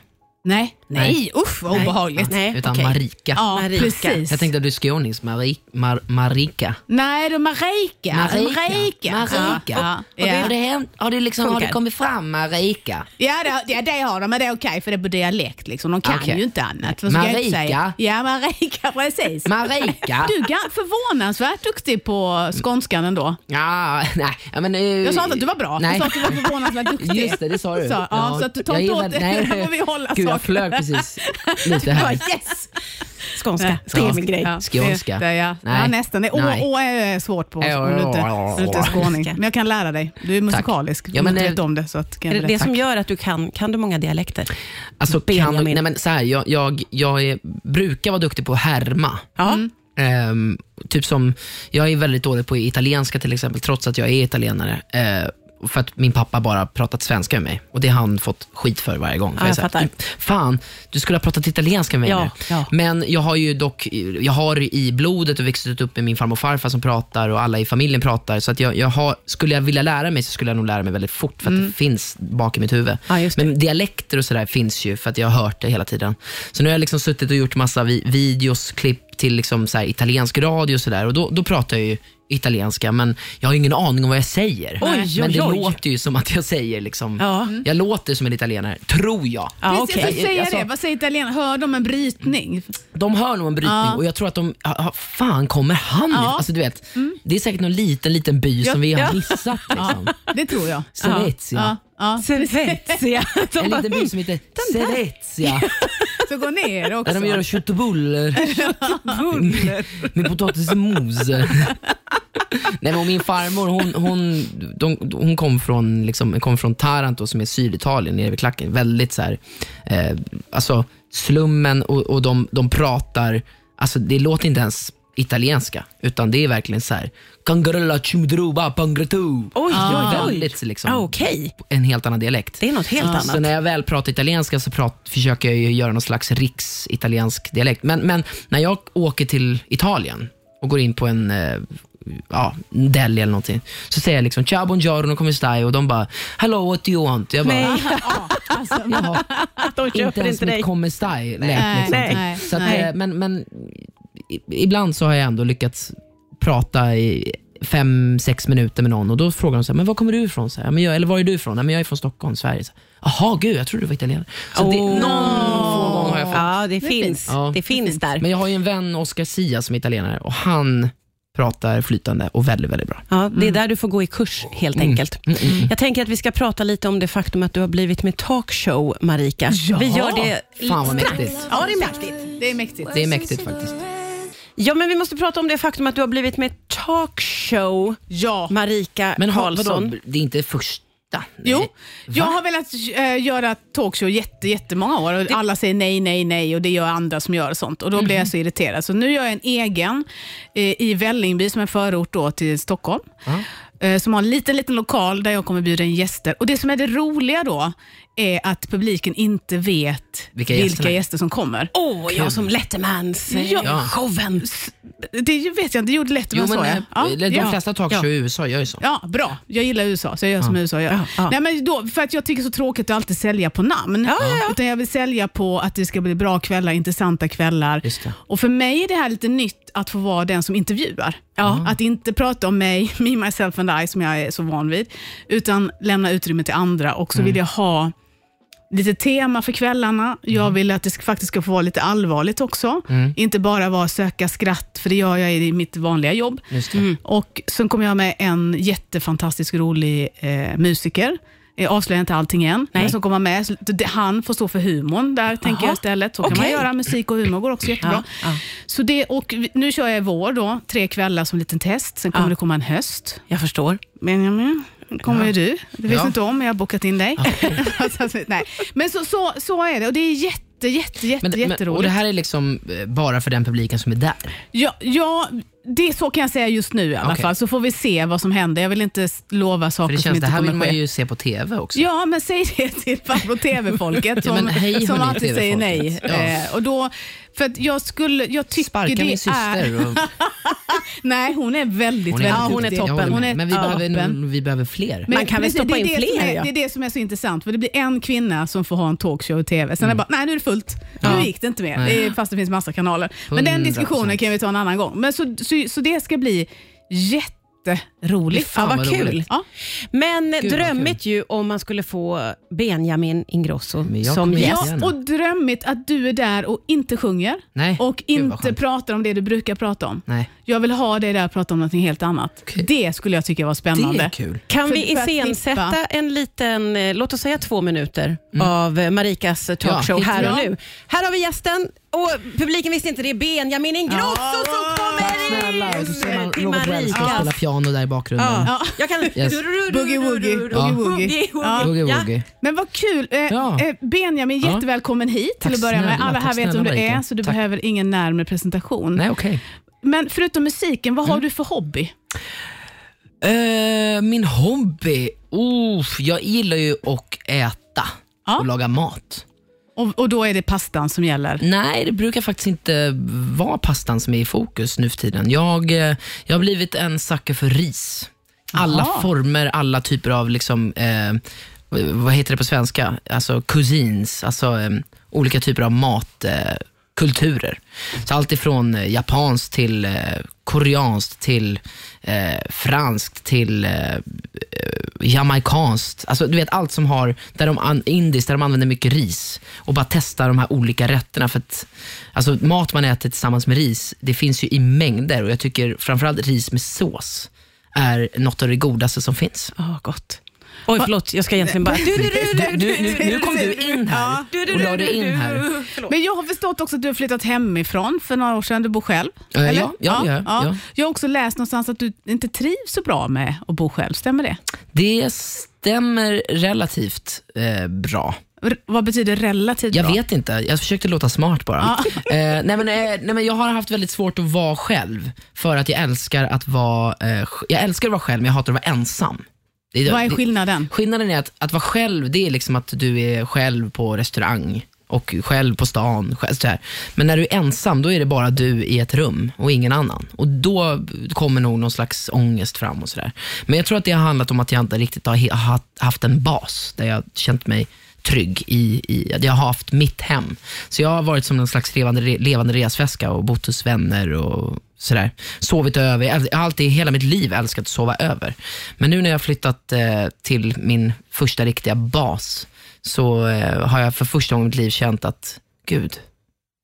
Speaker 3: Nej,
Speaker 2: Nej.
Speaker 3: nej. usch vad obehagligt.
Speaker 1: Nej,
Speaker 2: utan
Speaker 1: okej.
Speaker 2: Marika.
Speaker 3: Ja,
Speaker 1: Marika.
Speaker 3: precis.
Speaker 2: Jag tänkte att du är skånings, Mari, Mar, Marika.
Speaker 3: Nej, då Marika.
Speaker 2: Marika.
Speaker 3: Ja,
Speaker 2: Marika. Och
Speaker 3: ja, alltså, ja.
Speaker 2: Har, det hänt, har, det liksom, har
Speaker 1: Funkar.
Speaker 2: det kommit fram Marika?
Speaker 3: Ja det, ja, det har de, men det är okej för det är på dialekt. Liksom. De kan
Speaker 2: Okej.
Speaker 3: ju inte annat. Vad ska jag inte
Speaker 2: Marika.
Speaker 3: säga? Ja, Marika, precis.
Speaker 2: Marika?
Speaker 3: Du är ga- förvånansvärt duktig på skånskan ändå.
Speaker 2: Ja, nej, ja, men, eh,
Speaker 3: Jag sa inte att du var bra,
Speaker 2: Nej.
Speaker 3: jag sa att du var förvånansvärt duktig.
Speaker 2: Just det, det sa du.
Speaker 3: Så, ja, så att du tar
Speaker 2: jag
Speaker 3: inte
Speaker 2: gillar-
Speaker 3: åt dig.
Speaker 2: nej.
Speaker 3: Här får vi hålla
Speaker 2: Gud, jag
Speaker 3: saker.
Speaker 2: flög precis lite här.
Speaker 3: yes!
Speaker 1: Skånska, det är min grej.
Speaker 3: Ja,
Speaker 2: Skånska.
Speaker 3: Det, det, ja.
Speaker 2: Nej.
Speaker 3: ja, nästan. Det- Å
Speaker 2: Nej.
Speaker 3: å är svårt på
Speaker 2: Å,
Speaker 3: om du inte,
Speaker 2: å, å,
Speaker 3: om du inte är skåning. Men jag kan lära dig. Du är musikalisk.
Speaker 2: Ja,
Speaker 3: Ja,
Speaker 2: men,
Speaker 3: men, du
Speaker 2: eh,
Speaker 3: vet om det. Så att, kan
Speaker 1: Är
Speaker 3: jag
Speaker 1: det det
Speaker 3: berätta.
Speaker 1: som gör att du kan, kan du många dialekter?
Speaker 2: Alltså, kan,
Speaker 1: Benjamin.
Speaker 2: nej, men, så här, jag, jag, jag är, brukar vara duktig på att härma.
Speaker 1: Ja.
Speaker 2: Ehm, typ som, jag är väldigt dålig på italienska till exempel, trots att jag är italienare. Eh, för att min pappa bara pratat svenska med mig och det har han fått skit för varje gång. För
Speaker 1: jag
Speaker 2: är så här,
Speaker 1: fattar.
Speaker 2: Fan, du skulle ha pratat italienska med mig
Speaker 1: Ja,
Speaker 2: nu.
Speaker 1: ja.
Speaker 2: Men jag har ju dock, jag har i blodet och växt upp med min farmor och farfar som pratar och alla i familjen pratar. Så att jag, jag har, skulle jag vilja lära mig så skulle jag nog lära mig väldigt fort för att det finns bak i mitt huvud.
Speaker 1: Mm. Ja, just det.
Speaker 2: Men dialekter och sådär finns ju för att jag har hört det hela tiden. Så nu har jag liksom suttit och gjort massa vi- videos, klipp till liksom så här italiensk radio och sådär. Och då, då pratar jag ju italienska men jag har ju ingen aning om vad jag säger.
Speaker 1: Oj,
Speaker 2: men
Speaker 1: oj,
Speaker 2: det
Speaker 1: oj.
Speaker 2: låter ju som att jag säger liksom,
Speaker 1: Ja.
Speaker 2: jag låter som en italienare, tror jag.
Speaker 1: Ja,
Speaker 3: Precis, jag
Speaker 1: okej.
Speaker 3: ska säga
Speaker 2: Alltså-
Speaker 3: det. Vad säger italienarna? Hör de en brytning?
Speaker 2: De hör nog en brytning
Speaker 3: Ja.
Speaker 2: och jag tror att de, ha, ha, fan kommer han ja.
Speaker 3: Ja. Mm.
Speaker 2: alltså, du vet, Det är säkert någon liten, liten by som vi har missat. Liksom.
Speaker 3: Det tror jag.
Speaker 2: Serezia.
Speaker 3: Ja, ja.
Speaker 1: Servetia. De
Speaker 2: En
Speaker 1: bara,
Speaker 2: liten by som heter Serezia.
Speaker 3: Så gå ner också.
Speaker 2: Där de gör köttbullar
Speaker 1: "Mm." buller.
Speaker 2: med potatis och mos. Nej, men och min farmor hon, hon, de, hon kom, från, liksom, kom från Taranto som är Syditalien, nere vid klacken. Väldigt så här, eh, alltså slummen och, och de, de pratar, alltså det låter inte ens italienska, utan det är verkligen så här Kangarella chumdruba pangratu.
Speaker 1: Oj, oj, oj.
Speaker 2: Väldigt liksom,
Speaker 1: Ah, Okej,
Speaker 2: en helt annan dialekt. Ah,
Speaker 1: det är något helt
Speaker 2: Så
Speaker 1: annat.
Speaker 2: när jag väl pratar italienska så prat, försöker jag ju göra någon slags riksitaliensk dialekt. Men, men när jag åker till Italien och går in på en eh, ja, en deli eller någonting, så säger jag liksom ciao buongiorno come stai och de bara hello what do you want? Jag bara, "Ah,
Speaker 1: Nej,
Speaker 2: Jaha,
Speaker 1: de
Speaker 2: inte
Speaker 1: köper
Speaker 2: ens
Speaker 1: inte
Speaker 2: mitt
Speaker 1: dig.
Speaker 2: come stai lät
Speaker 3: Nej,
Speaker 2: liksom
Speaker 1: nej,
Speaker 2: till.
Speaker 3: nej,
Speaker 2: så att,
Speaker 3: nej.
Speaker 2: eh, Men, men i- ibland så har jag ändå lyckats prata i fem, sex minuter med någon och då frågar de så här, men var kommer du ifrån? Så här, men jag, eller var är du ifrån? Nej, men jag är från Stockholm, Sverige. Så här, Jaha, gud, jag trodde du var italienare. Så det,
Speaker 1: Åh.
Speaker 2: någon få gång har jag fått.
Speaker 1: Ja, det finns.
Speaker 2: Ja.
Speaker 1: Det finns där.
Speaker 2: Men jag har ju en vän, Oscar Sia, som är italienare och han pratar flytande och väldigt, väldigt bra.
Speaker 1: Ja, det är där du får gå i kurs helt enkelt. Jag tänker att vi ska prata lite om det faktum att du har blivit med talkshow, Marika. Vi gör det
Speaker 2: Fan vad mäktigt.
Speaker 1: Ja, det är mäktigt.
Speaker 3: Det är mäktigt.
Speaker 2: Det är mäktigt faktiskt.
Speaker 1: Ja, men vi måste prata om det faktum att du har blivit med talkshow,
Speaker 3: Ja.
Speaker 1: Marika
Speaker 2: Men ha, vadå,
Speaker 1: Karlsson.
Speaker 2: det är inte första? Nej.
Speaker 3: Jo, jag har velat eh, göra talkshow jätte, jättemånga år och alla säger nej, nej, nej och det gör andra som gör sånt och då blir
Speaker 2: Mhm.
Speaker 3: jag så irriterad. Så nu gör jag en egen eh, i Vällingby som är en förort då till Stockholm. eh, som har en liten, liten lokal där jag kommer bjuda in gäster. Och Det som är det roliga då är att publiken inte vet
Speaker 2: Vilka
Speaker 3: vilka,
Speaker 2: gästerna är.
Speaker 3: gäster som kommer.
Speaker 1: Åh, jag som Lettermans-showen.
Speaker 2: Ja.
Speaker 3: Det vet jag inte, det gjorde
Speaker 2: Jo,
Speaker 3: Letterman
Speaker 2: men,
Speaker 3: så.
Speaker 2: eh,
Speaker 3: ja.
Speaker 2: de
Speaker 3: ja.
Speaker 2: flesta talkshow i USA gör ju så.
Speaker 3: Ja, bra. Jag gillar USA, så jag gör som USA gör.
Speaker 1: ja.
Speaker 3: Nej, men då, för att jag tycker det är så tråkigt att alltid sälja på namn. Utan jag vill sälja på att det ska bli bra kvällar, intressanta kvällar.
Speaker 2: Just det.
Speaker 3: Och för mig är det här lite nytt att få vara den som intervjuar. Att inte prata om mig, me, myself and I, som jag är så van vid, utan lämna utrymme till andra. Och
Speaker 2: Mm.
Speaker 3: så vill jag ha lite tema för kvällarna.
Speaker 1: Mm.
Speaker 3: Jag vill att det ska, faktiskt ska få vara lite allvarligt också. Inte bara vara söka skratt, för det gör jag i mitt vanliga jobb. Mm.
Speaker 2: Just det.
Speaker 3: Och sen kommer jag med en jättefantastisk rolig eh, musiker. Jag avslöjar inte allting än, men som kommer med. Så det- Han får stå för humorn där, tänker jag istället. Så kan man
Speaker 1: Okej.
Speaker 3: göra. Musik och humor går också jättebra.
Speaker 1: Ja, ja.
Speaker 3: Så det, och vi- nu kör jag i vår då, tre kvällar som liten test. Sen kommer
Speaker 1: Ja.
Speaker 3: det komma en höst.
Speaker 1: Jag förstår.
Speaker 3: Benjamin, nu kommer ju du. Det vet
Speaker 2: Ja.
Speaker 3: inte om, men jag har bokat in dig. Alltså, nej. Men så, så, så är det och det är jätte, jätte, jätte,
Speaker 2: Men, men,
Speaker 3: jätteroligt.
Speaker 2: och det här är liksom eh, bara för den publiken som är där.
Speaker 3: Ja, ja, det är så kan jag säga just nu i alla
Speaker 2: Okej.
Speaker 3: fall, så får vi se vad som händer. Jag vill inte s- lova
Speaker 2: För
Speaker 3: saker
Speaker 2: det
Speaker 3: som
Speaker 2: känns,
Speaker 3: inte
Speaker 2: det här
Speaker 3: kommer
Speaker 2: vill man
Speaker 3: ske.
Speaker 2: ju se på TV också.
Speaker 3: Ja, men säg det till farbror TV-folket
Speaker 2: Ja,
Speaker 3: som,
Speaker 2: men hej,
Speaker 3: som
Speaker 2: hörni,
Speaker 3: alltid säger nej.
Speaker 2: TV-folket. Ja.
Speaker 3: Eh, och då, för att jag, skulle, jag tycker
Speaker 2: Sparka
Speaker 3: det
Speaker 2: min
Speaker 3: är...
Speaker 2: syster. Och,
Speaker 3: Nej, hon är väldigt,
Speaker 2: Hon är-
Speaker 3: väldigt
Speaker 2: Ja,
Speaker 1: hon är
Speaker 3: duktig.
Speaker 2: jag håller
Speaker 1: toppen.
Speaker 2: med.
Speaker 3: Hon är
Speaker 2: men vi behöver,
Speaker 3: toppen.
Speaker 2: nog- vi behöver fler.
Speaker 1: Man kan väl
Speaker 3: precis,
Speaker 1: stoppa
Speaker 3: det är
Speaker 1: in
Speaker 3: det
Speaker 1: fler,
Speaker 3: som Är,
Speaker 1: ja.
Speaker 3: det är det som är så intressant, för det blir en kvinna som får ha en talkshow i TV. Sen är det bara, nej nu är det fullt. Nu gick det inte mer,
Speaker 2: Mm. Nej.
Speaker 3: eh, fast det finns massa kanaler. Men den
Speaker 2: 100%.
Speaker 3: diskussionen kan vi ta en annan gång. Men så, så, så det ska bli jätteroligt.
Speaker 2: Fan,
Speaker 1: ja,
Speaker 2: vad
Speaker 1: vad kul.
Speaker 2: roligt.
Speaker 3: Ja.
Speaker 1: Men
Speaker 2: vad
Speaker 1: drömmigt ju om man skulle få Benjamin Ingrosso
Speaker 2: Men
Speaker 1: som
Speaker 2: jag kommer
Speaker 1: gäst.
Speaker 2: igen.
Speaker 3: Ja, och drömmigt att du är där och inte sjunger
Speaker 2: Nej,
Speaker 3: och
Speaker 2: gud vad
Speaker 3: inte
Speaker 2: skönt.
Speaker 3: pratar om det du brukar prata om.
Speaker 2: Nej.
Speaker 3: Jag vill ha dig där och prata om något helt annat.
Speaker 2: Okej.
Speaker 3: Det skulle jag tycka var
Speaker 2: Det
Speaker 3: spännande.
Speaker 2: är kul.
Speaker 1: Kan
Speaker 3: För-
Speaker 1: vi
Speaker 3: för att
Speaker 1: iscensätta
Speaker 3: slippa-
Speaker 1: en liten, eh, låt oss säga två minuter
Speaker 2: Mm.
Speaker 1: av eh, Marikas talkshow
Speaker 2: Ja, hit-
Speaker 1: här och
Speaker 3: ja.
Speaker 1: nu. Här har vi gästen och publiken visste inte, det är Benjamin Ingrosso som
Speaker 2: Tack snälla.
Speaker 1: kommer
Speaker 2: Och så ser man
Speaker 1: in till
Speaker 2: Robert Wells som spelar
Speaker 1: Marikas.
Speaker 2: piano där i bakgrunden.
Speaker 1: Ja. Jag kan...
Speaker 2: Yes.
Speaker 3: Boogie-woogie.
Speaker 1: Ja.
Speaker 3: Boogie-woogie.
Speaker 1: Boogie-woogie.
Speaker 2: Boogie-woogie.
Speaker 3: Men vad kul! Eh,
Speaker 2: Ja.
Speaker 3: eh, Benjamin,
Speaker 2: Ja.
Speaker 3: jättevälkommen hit till
Speaker 2: Tack
Speaker 3: att börja med.
Speaker 2: snälla,
Speaker 3: Alla här
Speaker 2: tack
Speaker 3: vet vem
Speaker 2: snälla,
Speaker 3: du är,
Speaker 2: Marika.
Speaker 3: så du
Speaker 2: Tack.
Speaker 3: behöver ingen närmare presentation.
Speaker 2: Nej, Mm. okej.
Speaker 3: Men förutom musiken, vad har du för hobby?
Speaker 2: Eh, min hobby? Oof, jag gillar ju att äta
Speaker 3: Ja.
Speaker 2: och laga mat.
Speaker 3: Och, och då är det pastan som gäller.
Speaker 2: Nej, det brukar faktiskt inte vara pastan som är i fokus nu för tiden. Jag, eh, jag har blivit en sucker för ris. Alla
Speaker 3: Jaha.
Speaker 2: former, alla typer av, liksom, eh, vad heter det på svenska? Alltså cuisines, alltså eh, olika typer av matkulturer. Eh, kulturer. Så allt ifrån eh, japanskt till eh, koreanskt till eh, franskt till eh, jamaikanskt, alltså du vet allt som har, där de an, indiskt, där de använder mycket ris och bara testa de här olika rätterna. För att, alltså mat man äter tillsammans med ris, det finns ju i mängder och jag tycker framförallt ris med sås är något av det godaste som finns.
Speaker 1: Ja, gott. Oj, förlåt. Jag ska egentligen bara... Du, du, du, du,
Speaker 2: Du, du, nu, nu kom du in här
Speaker 3: Ja.
Speaker 2: och la dig in här.
Speaker 1: Förlåt.
Speaker 3: Men jag har förstått också att du har flyttat hemifrån för några år sedan. Du bor själv?
Speaker 2: Eh, ja, ja, ja, ja.
Speaker 3: Jag har också läst någonstans att du inte trivs så bra med att bo själv. Stämmer det?
Speaker 2: Det stämmer relativt eh, bra.
Speaker 3: R- vad betyder relativt
Speaker 2: Jag
Speaker 3: bra?
Speaker 2: vet inte, jag försökte låta smart bara. Eh, nej, men, eh, nej, men jag har haft väldigt svårt att vara själv, för att jag älskar att vara, eh, sj- jag älskar att vara själv, men jag hatar att vara ensam. Det,
Speaker 3: Vad är
Speaker 2: det-
Speaker 3: skillnaden?
Speaker 2: Skillnaden är att, att vara själv, det är liksom att du är själv på restaurang och själv på stan. Själv, så här. Men när du är ensam, då är det bara du i ett rum och ingen annan. Och Då kommer nog någon slags ångest fram. och så där. Men jag tror att det har handlat om att jag inte riktigt har he- haft- haft en bas där jag känt mig trygg i, i att jag har haft mitt hem. Så jag har varit som en slags levande, re- levande resväska och bott hos vänner och sådär. Sovit över. Jag äl- jag har alltid i hela mitt liv älskat att sova över. Men nu när jag har flyttat eh, till min första riktiga bas så eh, har jag för första gången i mitt liv känt att gud,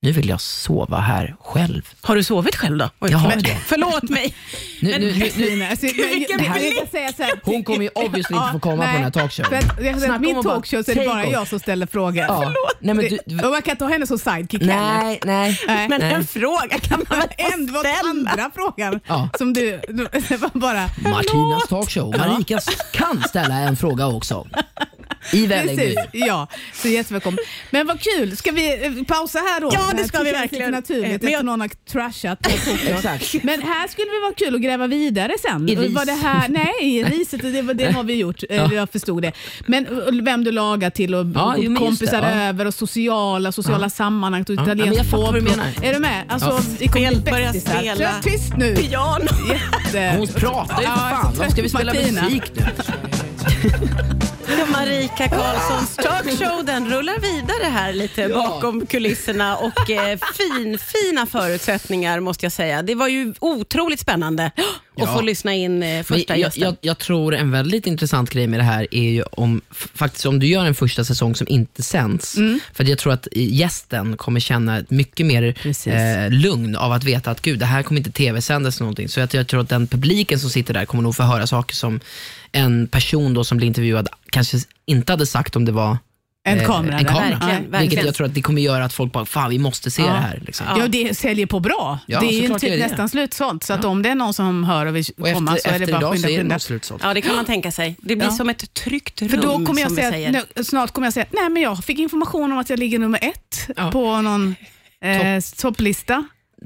Speaker 2: nu vill jag sova här själv.
Speaker 1: Har du sovit själv då? Oj,
Speaker 2: Jag har
Speaker 1: förlåt.
Speaker 2: det.
Speaker 1: Förlåt mig.
Speaker 2: Nu, nu, nu, nu.
Speaker 3: Stina, alltså,
Speaker 1: Gud, vilken
Speaker 3: men-
Speaker 1: blick!
Speaker 3: jag säger så här-
Speaker 2: Hon kommer ju obviously inte få komma på den här talkshowen.
Speaker 3: För att- Jag
Speaker 2: Snacka
Speaker 3: har sett
Speaker 2: om
Speaker 3: min
Speaker 2: att bara
Speaker 3: talkshow så är det
Speaker 2: take
Speaker 3: bara
Speaker 2: off.
Speaker 3: jag som ställer frågor.
Speaker 2: Ja. Nej, men du, du,
Speaker 3: Och man kan inte ha henne som sidekick heller.
Speaker 2: nej, nej.
Speaker 3: Nej.
Speaker 1: Men
Speaker 2: Nej.
Speaker 1: en fråga kan man väl
Speaker 3: En
Speaker 1: få
Speaker 3: var
Speaker 1: ställa?
Speaker 3: andra frågan
Speaker 2: Ja.
Speaker 3: som du, du bara...
Speaker 2: Martinas talkshow. Marika kan ställa en fråga också. I Vällingby.
Speaker 3: Ja, så jättevälkommen. Men vad kul, ska vi eh, pausa här då?
Speaker 1: Ja, det
Speaker 3: här
Speaker 1: ska
Speaker 3: tycker
Speaker 1: vi
Speaker 3: jag är
Speaker 1: verkligen.
Speaker 3: lite
Speaker 1: Eh,
Speaker 3: naturligt
Speaker 1: men jag-
Speaker 3: efter någon har trashat. Tokyo.
Speaker 2: Exakt.
Speaker 3: Men här skulle det vara kul att gräva vidare sen.
Speaker 2: I ris.
Speaker 3: Var det här, nej, i riset, det, var- det har vi gjort. Eh, Jag förstod det. Men eh, vem du lagar till och
Speaker 2: Ja, jo, men just
Speaker 3: kompisar
Speaker 2: det, ja.
Speaker 3: över och sociala, sociala sammanhang. Och
Speaker 2: ja, men jag
Speaker 3: italiensk
Speaker 2: fattar vad du
Speaker 3: pop.
Speaker 2: menar.
Speaker 3: Är du med? Alltså,
Speaker 2: Ja.
Speaker 3: vi kommer
Speaker 1: Spel,
Speaker 3: bli
Speaker 1: börja
Speaker 3: bästisar.
Speaker 1: spela.
Speaker 3: Tyst nu!
Speaker 1: Piano.
Speaker 3: Jätte...
Speaker 2: Hon pratar ju för
Speaker 3: Ja, jag är så
Speaker 2: fan. Varför ska vi
Speaker 3: trött på
Speaker 2: spela
Speaker 3: Martina.
Speaker 2: musik nu?
Speaker 1: Marika Karlssons talkshow den rullar vidare här lite bakom kulisserna och eh, fin, fina förutsättningar måste jag säga. Det var ju otroligt spännande att få lyssna in eh,
Speaker 2: Men
Speaker 1: första
Speaker 2: jag,
Speaker 1: gästen.
Speaker 2: jag, jag tror en väldigt intressant grej med det här är ju om, f- faktiskt om du gör en första säsong som inte sänds. För att jag tror att gästen kommer känna ett mycket mer
Speaker 3: Precis.
Speaker 2: eh, lugn av att veta att gud, det här kommer inte tv-sändas eller någonting. Så jag, jag tror att den publiken som sitter där kommer nog få höra saker som en person då som blir intervjuad kanske inte hade sagt om det var
Speaker 3: En
Speaker 2: eh,
Speaker 3: kamera.
Speaker 2: en
Speaker 3: där.
Speaker 2: kamera.
Speaker 1: Verkligen,
Speaker 2: Vilket
Speaker 1: verkligen.
Speaker 2: jag tror att det kommer göra att folk bara, fan vi måste se det här. Liksom.
Speaker 3: Ja. det säljer på bra.
Speaker 2: Ja,
Speaker 3: det är ju
Speaker 2: såklart
Speaker 3: typ
Speaker 2: gör det.
Speaker 3: nästan slutsålt. Så att om det är någon som hör och vill
Speaker 2: Och efter,
Speaker 3: komma så är
Speaker 2: efter
Speaker 3: det bara
Speaker 2: idag så
Speaker 3: skynda,
Speaker 2: är det
Speaker 3: skynda.
Speaker 2: nog slutsålt.
Speaker 1: Ja, det kan man tänka sig. Det blir
Speaker 3: Ja.
Speaker 1: som ett tryggt rum,
Speaker 3: För då kommer jag
Speaker 1: som vi
Speaker 3: säga,
Speaker 1: säger.
Speaker 3: nu- snart kommer jag säga, nej men jag fick information om att jag ligger nummer ett
Speaker 2: Ja.
Speaker 3: på någon eh, topplista.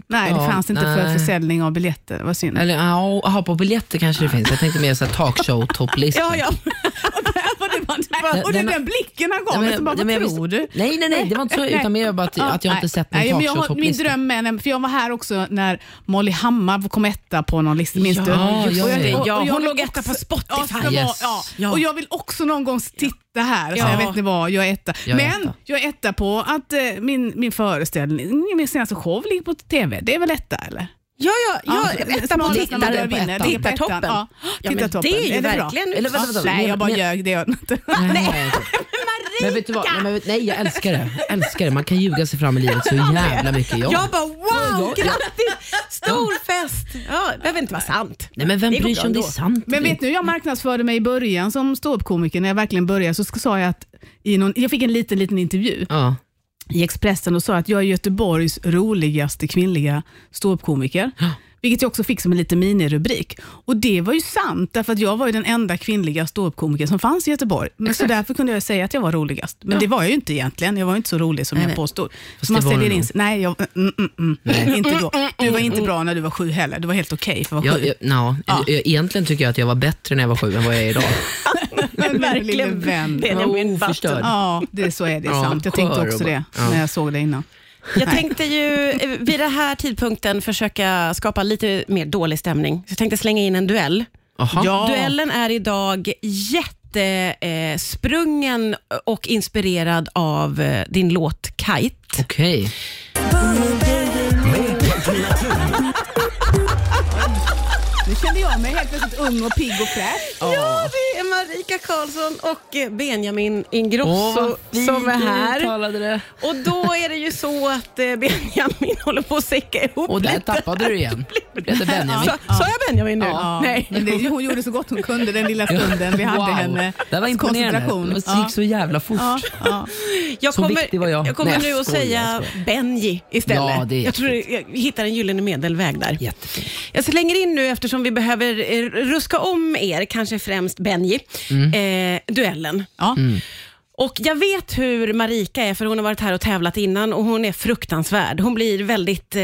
Speaker 3: Nej,
Speaker 2: Ja,
Speaker 3: det fanns inte
Speaker 2: nej.
Speaker 3: för försäljning av biljetter. Vad synd.
Speaker 2: Eller ja, aha, på biljetter kanske
Speaker 3: Ah.
Speaker 2: det finns. Jag tänkte mer såhär talkshow-topplista.
Speaker 1: Ja, ja.
Speaker 3: och det var,
Speaker 2: Nej,
Speaker 3: och den
Speaker 2: men-
Speaker 3: där blicken han
Speaker 2: Ja,
Speaker 3: gav
Speaker 2: men-
Speaker 3: mig, så bara,
Speaker 2: ja, men jag
Speaker 3: vad tror
Speaker 2: visste-
Speaker 3: du?
Speaker 2: Nej, nej, nej, det var inte så, utan mer bara att,
Speaker 3: Ja,
Speaker 2: att jag inte
Speaker 3: nej,
Speaker 2: sett
Speaker 3: nej,
Speaker 2: någon
Speaker 3: men jag har- Min
Speaker 2: talkshow-topplista.
Speaker 3: dröm är, för jag var här också när Molly Hammar kom etta på någon lista, minns
Speaker 2: Ja,
Speaker 3: du?
Speaker 2: just
Speaker 3: Och jag-
Speaker 2: det.
Speaker 3: och- och
Speaker 1: Ja,
Speaker 3: jag
Speaker 1: hon
Speaker 3: vill
Speaker 1: låg etta
Speaker 3: också-
Speaker 1: på Spotify.
Speaker 3: Ja, ska vara-
Speaker 2: Yes.
Speaker 3: ja.
Speaker 1: Ja.
Speaker 3: Och jag vill också någon gång titta här, så
Speaker 1: Ja.
Speaker 3: jag vet inte vad, jag är etta.
Speaker 2: Jag är
Speaker 3: men
Speaker 2: etta.
Speaker 3: jag är etta på att eh, min, min föreställning, min senaste show ligger på TV. Det är väl etta eller?
Speaker 1: Ja, ja, ja, etta på
Speaker 3: smalast när man
Speaker 1: tittaren.
Speaker 3: börjar vinna.
Speaker 2: ettan.
Speaker 3: Det är på
Speaker 1: Tittartoppen.
Speaker 3: ettan. Ja.
Speaker 1: Ja, men
Speaker 3: Tittartoppen.
Speaker 1: det är ju
Speaker 3: bra?
Speaker 1: verkligen-
Speaker 2: Eller vänta, vänta.
Speaker 3: Nej, jag bara
Speaker 2: Men-
Speaker 3: ljög. Det gör jag inte.
Speaker 2: Nej. Men vet du vad? Nej, men, vet- nej, jag älskar det. Jag älskar det. Man kan ljuga sig fram i livet så jävla mycket. Jag,
Speaker 1: Jag bara wow,
Speaker 2: Ja, ja.
Speaker 1: grattis! Stor fest! Ja, det behöver inte vara sant.
Speaker 2: nej, men vem
Speaker 1: Det går
Speaker 2: bryr
Speaker 1: bra
Speaker 2: sig om det är
Speaker 1: ändå.
Speaker 2: sant?
Speaker 3: Men vet ni hur jag marknadsförde mig i början som ståuppkomiker? När jag verkligen började så sk- sa jag att i någon, jag fick en liten, liten intervju
Speaker 2: Ja.
Speaker 3: i Expressen och sa att jag är Göteborgs roligaste kvinnliga ståuppkomiker. Vilket jag också fick som en liten minirubrik. Och det var ju sant, därför att jag var ju den enda kvinnliga ståuppkomiker som fanns i Göteborg. Men så därför kunde jag säga att jag var roligast. Men det var jag ju inte egentligen. Jag var ju inte så rolig som jag påstod.
Speaker 2: Fast
Speaker 3: Så man
Speaker 2: det var
Speaker 3: ställer
Speaker 2: du
Speaker 3: in
Speaker 2: nog.
Speaker 3: sig. Nej, jag, mm, mm, mm, inte då. Du var inte bra när du var sju heller. Du var helt okej för att vara
Speaker 2: Jag,
Speaker 3: sju.
Speaker 2: jag, no,
Speaker 3: Ja.
Speaker 2: Egentligen tycker jag att jag var bättre när jag var sju än vad jag är idag.
Speaker 3: Men lille
Speaker 1: Verkligen.
Speaker 3: vän.
Speaker 1: Det är
Speaker 2: Jag var
Speaker 1: min
Speaker 2: oförstörd.
Speaker 3: Ja, det, så är det.
Speaker 2: Ja,
Speaker 3: sant. Jag tänkte
Speaker 2: skör
Speaker 3: också
Speaker 2: och
Speaker 3: det
Speaker 2: bara- ja.
Speaker 3: när jag såg det innan.
Speaker 1: Jag
Speaker 3: Nej.
Speaker 1: tänkte ju eh, vid den här tidpunkten försöka skapa lite mer dålig stämning. Så jag tänkte slänga in en duell.
Speaker 2: Aha.
Speaker 3: Ja.
Speaker 1: Duellen är idag jättesprungen eh, sprungen och inspirerad av eh, din låt Kite.
Speaker 2: Okej.
Speaker 3: Nu kände jag mig helt plötsligt ung och pigg och fräsch.
Speaker 1: Ja, det är Marika Karlsson och eh, Benjamin
Speaker 2: Åh,
Speaker 1: Ingrosso
Speaker 2: vad fint
Speaker 1: som är
Speaker 2: du
Speaker 1: här.
Speaker 2: uttalade det.
Speaker 1: Och då är det ju så att eh, Benjamin håller på att säcka ihop
Speaker 2: Och där
Speaker 1: lite.
Speaker 2: tappade du igen. Blev det Benjamin?
Speaker 1: Sa, sa jag Benjamin nu?
Speaker 3: Ja,
Speaker 1: Nej.
Speaker 3: Men det, hon gjorde så gott hon kunde den lilla stunden vi hade
Speaker 2: Wow.
Speaker 3: henne.
Speaker 2: Det var imponerande.
Speaker 3: Koncentration.
Speaker 2: Det gick så jävla fort.
Speaker 3: Ja, ja.
Speaker 1: Jag
Speaker 2: Så
Speaker 1: kommer,
Speaker 2: viktig var jag.
Speaker 1: kommer
Speaker 2: Nej,
Speaker 1: nu
Speaker 2: jag
Speaker 1: att
Speaker 2: skojar,
Speaker 1: säga
Speaker 2: jag skojar.
Speaker 1: Benji istället.
Speaker 2: Ja, det är
Speaker 1: jag tror jag hittar en gyllene medelväg där.
Speaker 2: Jättefint.
Speaker 1: Jag slänger in nu, eftersom vi behöver eh, ruska om er, kanske främst Benji,
Speaker 2: Mm.
Speaker 1: eh, duellen.
Speaker 3: Ja.
Speaker 1: Och Jag vet hur Marika är, för hon har varit här och tävlat innan och hon är fruktansvärd. Hon, blir väldigt, eh,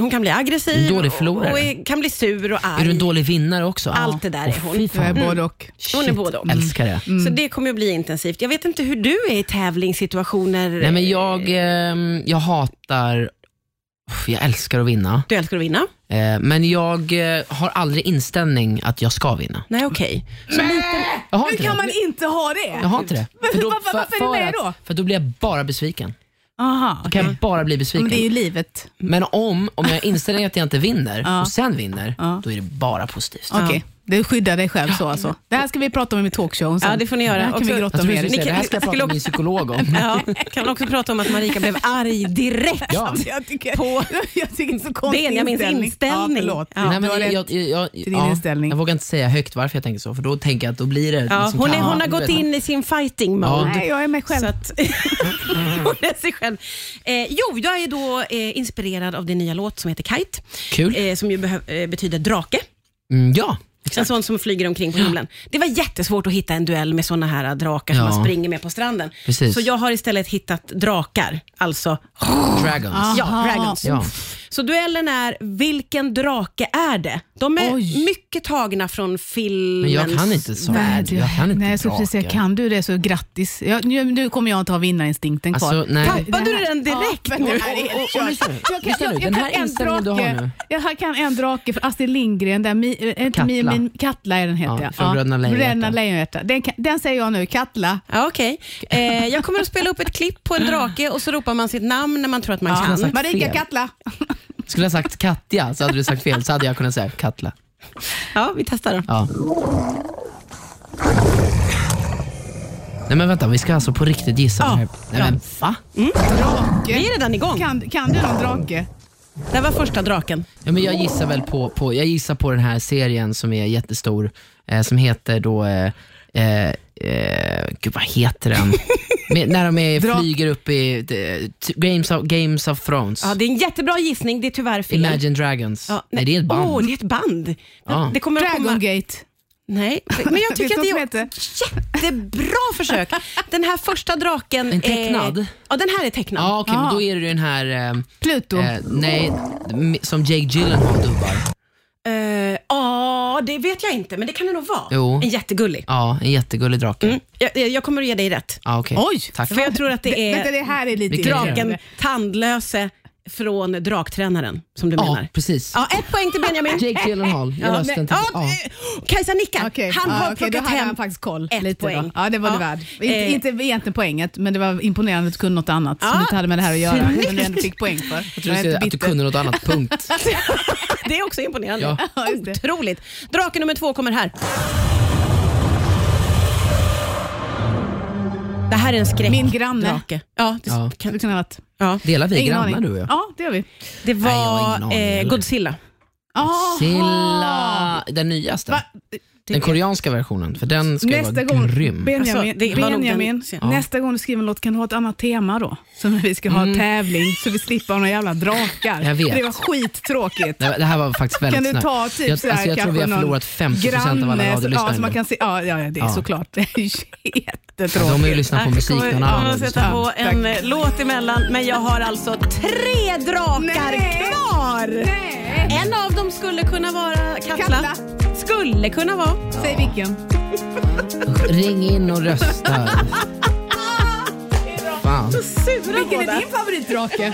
Speaker 1: hon kan bli aggressiv
Speaker 2: En dålig
Speaker 1: och-
Speaker 2: förlorare.
Speaker 1: och är, kan bli sur och arg.
Speaker 2: Är du en dålig vinnare också?
Speaker 1: Allt det där är hon.
Speaker 2: fy
Speaker 3: Jag är Mm.
Speaker 2: fan.
Speaker 3: både och.
Speaker 1: Hon är
Speaker 2: Shit,
Speaker 1: både och.
Speaker 2: Älskar det.
Speaker 1: Så
Speaker 3: Mm.
Speaker 1: det kommer att bli intensivt. Jag vet inte hur du är i tävlingssituationer.
Speaker 2: Nej, men jag, ehm, jag hatar, Uff, jag älskar att vinna,
Speaker 1: Du älskar att vinna.
Speaker 2: Eh, men jag eh, har aldrig inställning att jag ska vinna.
Speaker 1: Nej, okej.
Speaker 2: Jag har
Speaker 3: Hur
Speaker 2: inte
Speaker 3: kan
Speaker 2: det.
Speaker 3: man inte ha det?
Speaker 2: Jag har inte det.
Speaker 3: varför- varför är du med
Speaker 2: att-
Speaker 3: då?
Speaker 2: För då blir jag bara besviken.
Speaker 3: Aha,
Speaker 2: Då kan jag bara bli
Speaker 3: men
Speaker 2: besviken.
Speaker 3: det är ju livet.
Speaker 2: Men om, om jag inställer att jag inte vinner
Speaker 3: Ja.
Speaker 2: och sen vinner,
Speaker 3: Ja.
Speaker 2: då är det bara positivt.
Speaker 3: Okej, du skyddar dig själv så alltså. Det här ska vi prata om i min talkshow sen.
Speaker 1: Ja, det får ni göra.
Speaker 3: Det här kan
Speaker 1: Också-
Speaker 3: vi
Speaker 2: Jag
Speaker 3: grotta
Speaker 2: tror du
Speaker 3: ner
Speaker 2: skulle säga,
Speaker 1: Ni
Speaker 2: det här
Speaker 1: kan-
Speaker 2: ska jag prata
Speaker 1: skulle
Speaker 2: med min psykolog om.
Speaker 1: Ja, kan man också prata om att Marika blev arg direkt.
Speaker 2: Ja.
Speaker 3: Jag tycker,
Speaker 1: På
Speaker 3: jag tycker det är så konstig
Speaker 1: Benjamins inställning.
Speaker 3: Ja, förlåt.
Speaker 1: Ja.
Speaker 2: Nej, men
Speaker 3: Du har
Speaker 2: jag,
Speaker 3: rätt.
Speaker 2: jag, jag,
Speaker 3: din inställning.
Speaker 2: jag vågar inte säga högt varför jag tänker så, för då tänker jag att då blir det...
Speaker 1: Ja,
Speaker 2: liksom
Speaker 1: hon, är,
Speaker 2: kaos.
Speaker 1: hon har gått in i sin fighting mode.
Speaker 2: Ja.
Speaker 3: Nej, jag är mig själv.
Speaker 1: Så att, hon är sig själv. Eh, jo, jag är då eh, inspirerad av din nya låt som heter Kite.
Speaker 2: Kul.
Speaker 1: Eh, som ju behö- eh, betyder drake.
Speaker 2: Mm, ja,
Speaker 1: En sån som flyger omkring på himlen. Det var jättesvårt att hitta en duell med såna här drakar som
Speaker 2: Ja.
Speaker 1: man springer med på stranden.
Speaker 2: Precis.
Speaker 1: Så jag har istället hittat drakar, alltså
Speaker 2: Dragons.
Speaker 1: ja, dragons.
Speaker 2: Ja.
Speaker 1: Så duellen är, vilken drake är det? De är
Speaker 3: Oj.
Speaker 1: mycket tagna från filmen.
Speaker 2: Men jag kan inte sånt.
Speaker 3: Nej, du,
Speaker 2: Jag kan inte
Speaker 3: nej, så precis, säga,
Speaker 2: drakar.
Speaker 3: kan du det så grattis. Ja, nu, nu kommer jag inte ha vinnarinstinkten kvar.
Speaker 2: Alltså, nej.
Speaker 1: Tappade du den direkt
Speaker 3: Ja, men
Speaker 1: nu?
Speaker 3: det här är helt
Speaker 2: Och- och- och
Speaker 3: kört.
Speaker 2: lyssna nu.
Speaker 3: Jag kan-
Speaker 2: Lyssna nu,
Speaker 3: jag- jag
Speaker 2: den
Speaker 3: kan
Speaker 2: här
Speaker 3: en
Speaker 2: inställningen du har
Speaker 3: drake-
Speaker 2: nu.
Speaker 3: Jag kan en drake för Astrid Lindgren, där, mi, äh, inte mi,
Speaker 2: Katla.
Speaker 3: min, Katla är den heter
Speaker 2: Ja,
Speaker 3: jag.
Speaker 2: från Bröderna Lejonhjärta.
Speaker 3: Bröderna Lejonhjärta. Den, kan- den säger jag nu, Katla.
Speaker 1: Ja, okej. eh, jag kommer att spela upp ett klipp på en drake och så ropar man sitt namn när man tror att man
Speaker 3: Ja.
Speaker 1: kan.
Speaker 2: sagt
Speaker 3: Marika
Speaker 2: fel.
Speaker 3: Katla.
Speaker 2: Skulle jag sagt Katja så hade du sagt fel, så hade jag kunnat säga Katla.
Speaker 1: Ja, vi testar då.
Speaker 2: Ja. Nej men vänta, vi ska alltså på riktigt gissa.
Speaker 1: Ja,
Speaker 2: här. Nej
Speaker 1: ja.
Speaker 2: men va?
Speaker 3: Drake.
Speaker 1: Vi är redan igång.
Speaker 3: Kan, kan du någon drake?
Speaker 1: Det här var första draken.
Speaker 2: Ja, men jag gissar väl på, på, jag gissar på den här serien som är jättestor, eh, som heter då, eh, eh, eh, gud vad heter den? Med, när de är,
Speaker 3: Drak.
Speaker 2: flyger upp i de, t- Games, of, Games of Thrones,
Speaker 1: Ja, det är en jättebra gissning, det är tyvärr fel.
Speaker 2: Imagine Dragons.
Speaker 1: Ja,
Speaker 2: nej. det är ett band.
Speaker 1: Åh, det är ett band.
Speaker 2: Ja.
Speaker 1: Det kommer att komma...
Speaker 3: Dragon Gate.
Speaker 1: Nej, men jag
Speaker 3: Det är
Speaker 1: tycker
Speaker 3: så
Speaker 1: att det
Speaker 3: som
Speaker 1: är jättebra försök. Den här första draken...
Speaker 2: En tecknad?
Speaker 1: Är... Ja, den här är tecknad.
Speaker 2: Ja okej,
Speaker 3: Ah.
Speaker 2: men då är det ju den här, eh,
Speaker 3: Pluto.
Speaker 2: eh, nej, m- som Jake Gyllenhaal dubbar.
Speaker 1: Eh, Ja, det vet jag inte, men det kan det nog vara.
Speaker 2: Jo.
Speaker 1: En jättegullig.
Speaker 2: Ja, en jättegullig drake.
Speaker 1: Mm. Jag, jag- jag kommer att ge dig rätt.
Speaker 2: Ja, okej.
Speaker 3: Oj.
Speaker 2: Tack.
Speaker 1: För jag tror att det
Speaker 3: Vänta,
Speaker 1: är
Speaker 3: det här är lite
Speaker 2: Vilken
Speaker 1: draken Tandlöse från Draktränaren, som du
Speaker 2: Ja,
Speaker 1: menar.
Speaker 2: precis.
Speaker 1: Ja, ett poäng till Benjamin.
Speaker 2: Jake Gyllenhaal, jag
Speaker 1: Ja,
Speaker 2: löste
Speaker 1: men,
Speaker 2: inte.
Speaker 1: ja,
Speaker 2: Ja.
Speaker 1: eh, Kajsa nickar.
Speaker 3: Okej,
Speaker 1: Han
Speaker 3: ja,
Speaker 1: har
Speaker 3: okej, då
Speaker 1: plockat
Speaker 3: hade
Speaker 1: hem
Speaker 3: han faktiskt koll.
Speaker 1: ett
Speaker 3: lite
Speaker 1: poäng.
Speaker 3: Då. Ja, det var
Speaker 1: Ja.
Speaker 3: du värd. Inte,
Speaker 1: Eh.
Speaker 3: inte egentligen poänget, men det var imponerande att du kunde något annat som
Speaker 1: Ja,
Speaker 3: du inte hade med det här att göra.
Speaker 1: snyggt.
Speaker 3: Som du ändå fick poäng för. Jag
Speaker 2: Du säger att du kunde något annat, punkt.
Speaker 1: Det är också imponerande.
Speaker 2: Ja.
Speaker 3: Ja, just det.
Speaker 1: Otroligt. Drake nummer två kommer här. Det här är en skräck.
Speaker 3: Min granne.
Speaker 1: Drake. Ja, det,
Speaker 2: Ja.
Speaker 1: Kan,
Speaker 3: kunde ha varit.
Speaker 1: ja.
Speaker 2: Delar vi
Speaker 3: Ingen
Speaker 2: grannar
Speaker 3: aning.
Speaker 2: du och jag?
Speaker 3: Ja, det gör vi.
Speaker 1: det
Speaker 2: Nej, jag har
Speaker 1: var
Speaker 2: ingen aning heller.
Speaker 1: eh, Godzilla.
Speaker 3: Aha.
Speaker 2: Silla, den nyaste.
Speaker 3: Va?
Speaker 2: Den koreanska versionen, för den ska ju
Speaker 3: Nästa
Speaker 2: vara
Speaker 3: gång,
Speaker 2: grym.
Speaker 3: Benjamin,
Speaker 1: Alltså, det var nog den
Speaker 3: Benjamin
Speaker 1: sen.
Speaker 3: nästa gång du skriver en låt kan du ha ett annat tema då? Som när vi ska ha tävling så vi slipper ha några jävla drakar.
Speaker 2: Mm. Jag vet.
Speaker 3: Det var skittråkigt.
Speaker 2: Nej, Det här var faktiskt väldigt
Speaker 3: Kan du
Speaker 2: snabbt.
Speaker 3: ta typ
Speaker 2: jag,
Speaker 3: sådär,
Speaker 2: alltså, jag tror vi har
Speaker 3: kanske någon
Speaker 2: förlorat 50% av alla
Speaker 3: granne- ja,
Speaker 2: radiolyssnare
Speaker 3: så man
Speaker 2: nu.
Speaker 3: kan se, ja, ja, ja, det är
Speaker 2: Ja.
Speaker 3: såklart. Det är jättetråkigt.
Speaker 2: De har ju lyssnat på musik någon
Speaker 1: Jag kommer
Speaker 2: annan
Speaker 1: att
Speaker 2: har
Speaker 1: sätta
Speaker 2: lyssnat.
Speaker 1: på en eh, låt emellan, men jag har alltså tre drakar
Speaker 3: Nej.
Speaker 1: kvar.
Speaker 3: Nej.
Speaker 1: En av dem skulle kunna vara Katla.
Speaker 3: Katla.
Speaker 1: Skulle kunna vara.
Speaker 3: Säg vilken.
Speaker 2: Ring in och rösta. Fan.
Speaker 1: Sura
Speaker 3: Vilken
Speaker 1: båda.
Speaker 3: är din favoritdrake?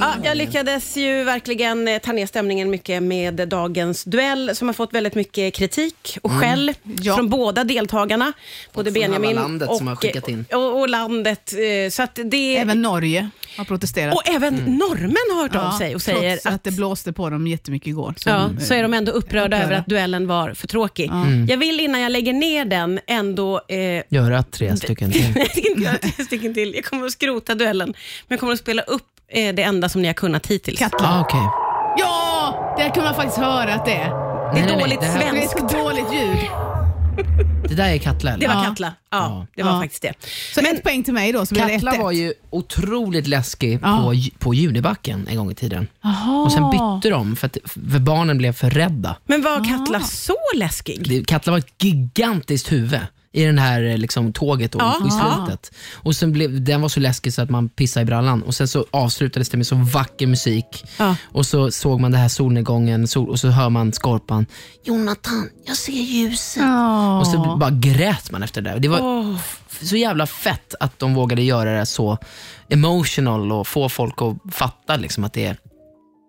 Speaker 1: Ja, jag lyckades ju verkligen eh, ta ner stämningen mycket med dagens duell som har fått väldigt mycket kritik och skäll
Speaker 3: Mm. Ja.
Speaker 1: från båda deltagarna. Både
Speaker 2: från
Speaker 1: Benjamin
Speaker 2: halva landet
Speaker 1: och, eh,
Speaker 2: som har skickat in.
Speaker 1: Och, och landet. eh, Så att det,
Speaker 3: Även Norge har protesterat.
Speaker 1: och även norrmän har hört
Speaker 3: Ja,
Speaker 1: av sig och säger
Speaker 3: trots att, det blåste på dem jättemycket igår. Så,
Speaker 1: Ja, så är de ändå upprörda
Speaker 3: upprörda. Mm.
Speaker 1: över att duellen var för tråkig. Mm. Jag vill innan jag lägger ner den ändå eh,
Speaker 2: Göra tre stycken till.
Speaker 1: Nej, jag tänker inte göra tre stycken till. Jag kommer att skrota duellen, men jag kommer att spela upp eh, det enda som ni har kunnat hittills.
Speaker 3: Katla.
Speaker 2: Ah, okej.
Speaker 3: Ja, där kunde man faktiskt höra att det är.
Speaker 1: det är
Speaker 2: Nej, nej, nej,
Speaker 1: dåligt
Speaker 2: det här-
Speaker 3: Det är
Speaker 1: svenskt.
Speaker 3: så dåligt ljud.
Speaker 2: Det där är Katla
Speaker 1: Det
Speaker 2: eller?
Speaker 1: var
Speaker 3: Ja.
Speaker 1: Katla. Ja,
Speaker 2: Ja.
Speaker 1: det var
Speaker 3: Ja.
Speaker 1: faktiskt det.
Speaker 3: Så ett poäng till mig då, så blir det
Speaker 2: Katla
Speaker 3: Alltså, ett,
Speaker 2: var
Speaker 3: ett.
Speaker 2: ju otroligt läskig
Speaker 3: Ja.
Speaker 2: på, ju- på Junibacken en gång i tiden.
Speaker 3: Jaha.
Speaker 2: Och Sen bytte de för att för barnen blev för rädda.
Speaker 1: Men var Katla så läskig?
Speaker 2: Det- Katla var ett gigantiskt huvud i den här eh, liksom, tåget och,
Speaker 1: Ja.
Speaker 2: i slutet. Och sen blev, den var så läskig så att man pissade i brallan. Och Sen så avslutades det med så vacker musik.
Speaker 1: Ja.
Speaker 2: Och så såg man den här solnedgången sol, och så hör man Skorpan “Jonathan, jag ser ljuset”.
Speaker 3: Ja.
Speaker 2: Och så bara grät man efter det där. Det var
Speaker 1: Åh.
Speaker 2: f- så jävla fett att de vågade göra det så emotional och få folk att fatta liksom, att det är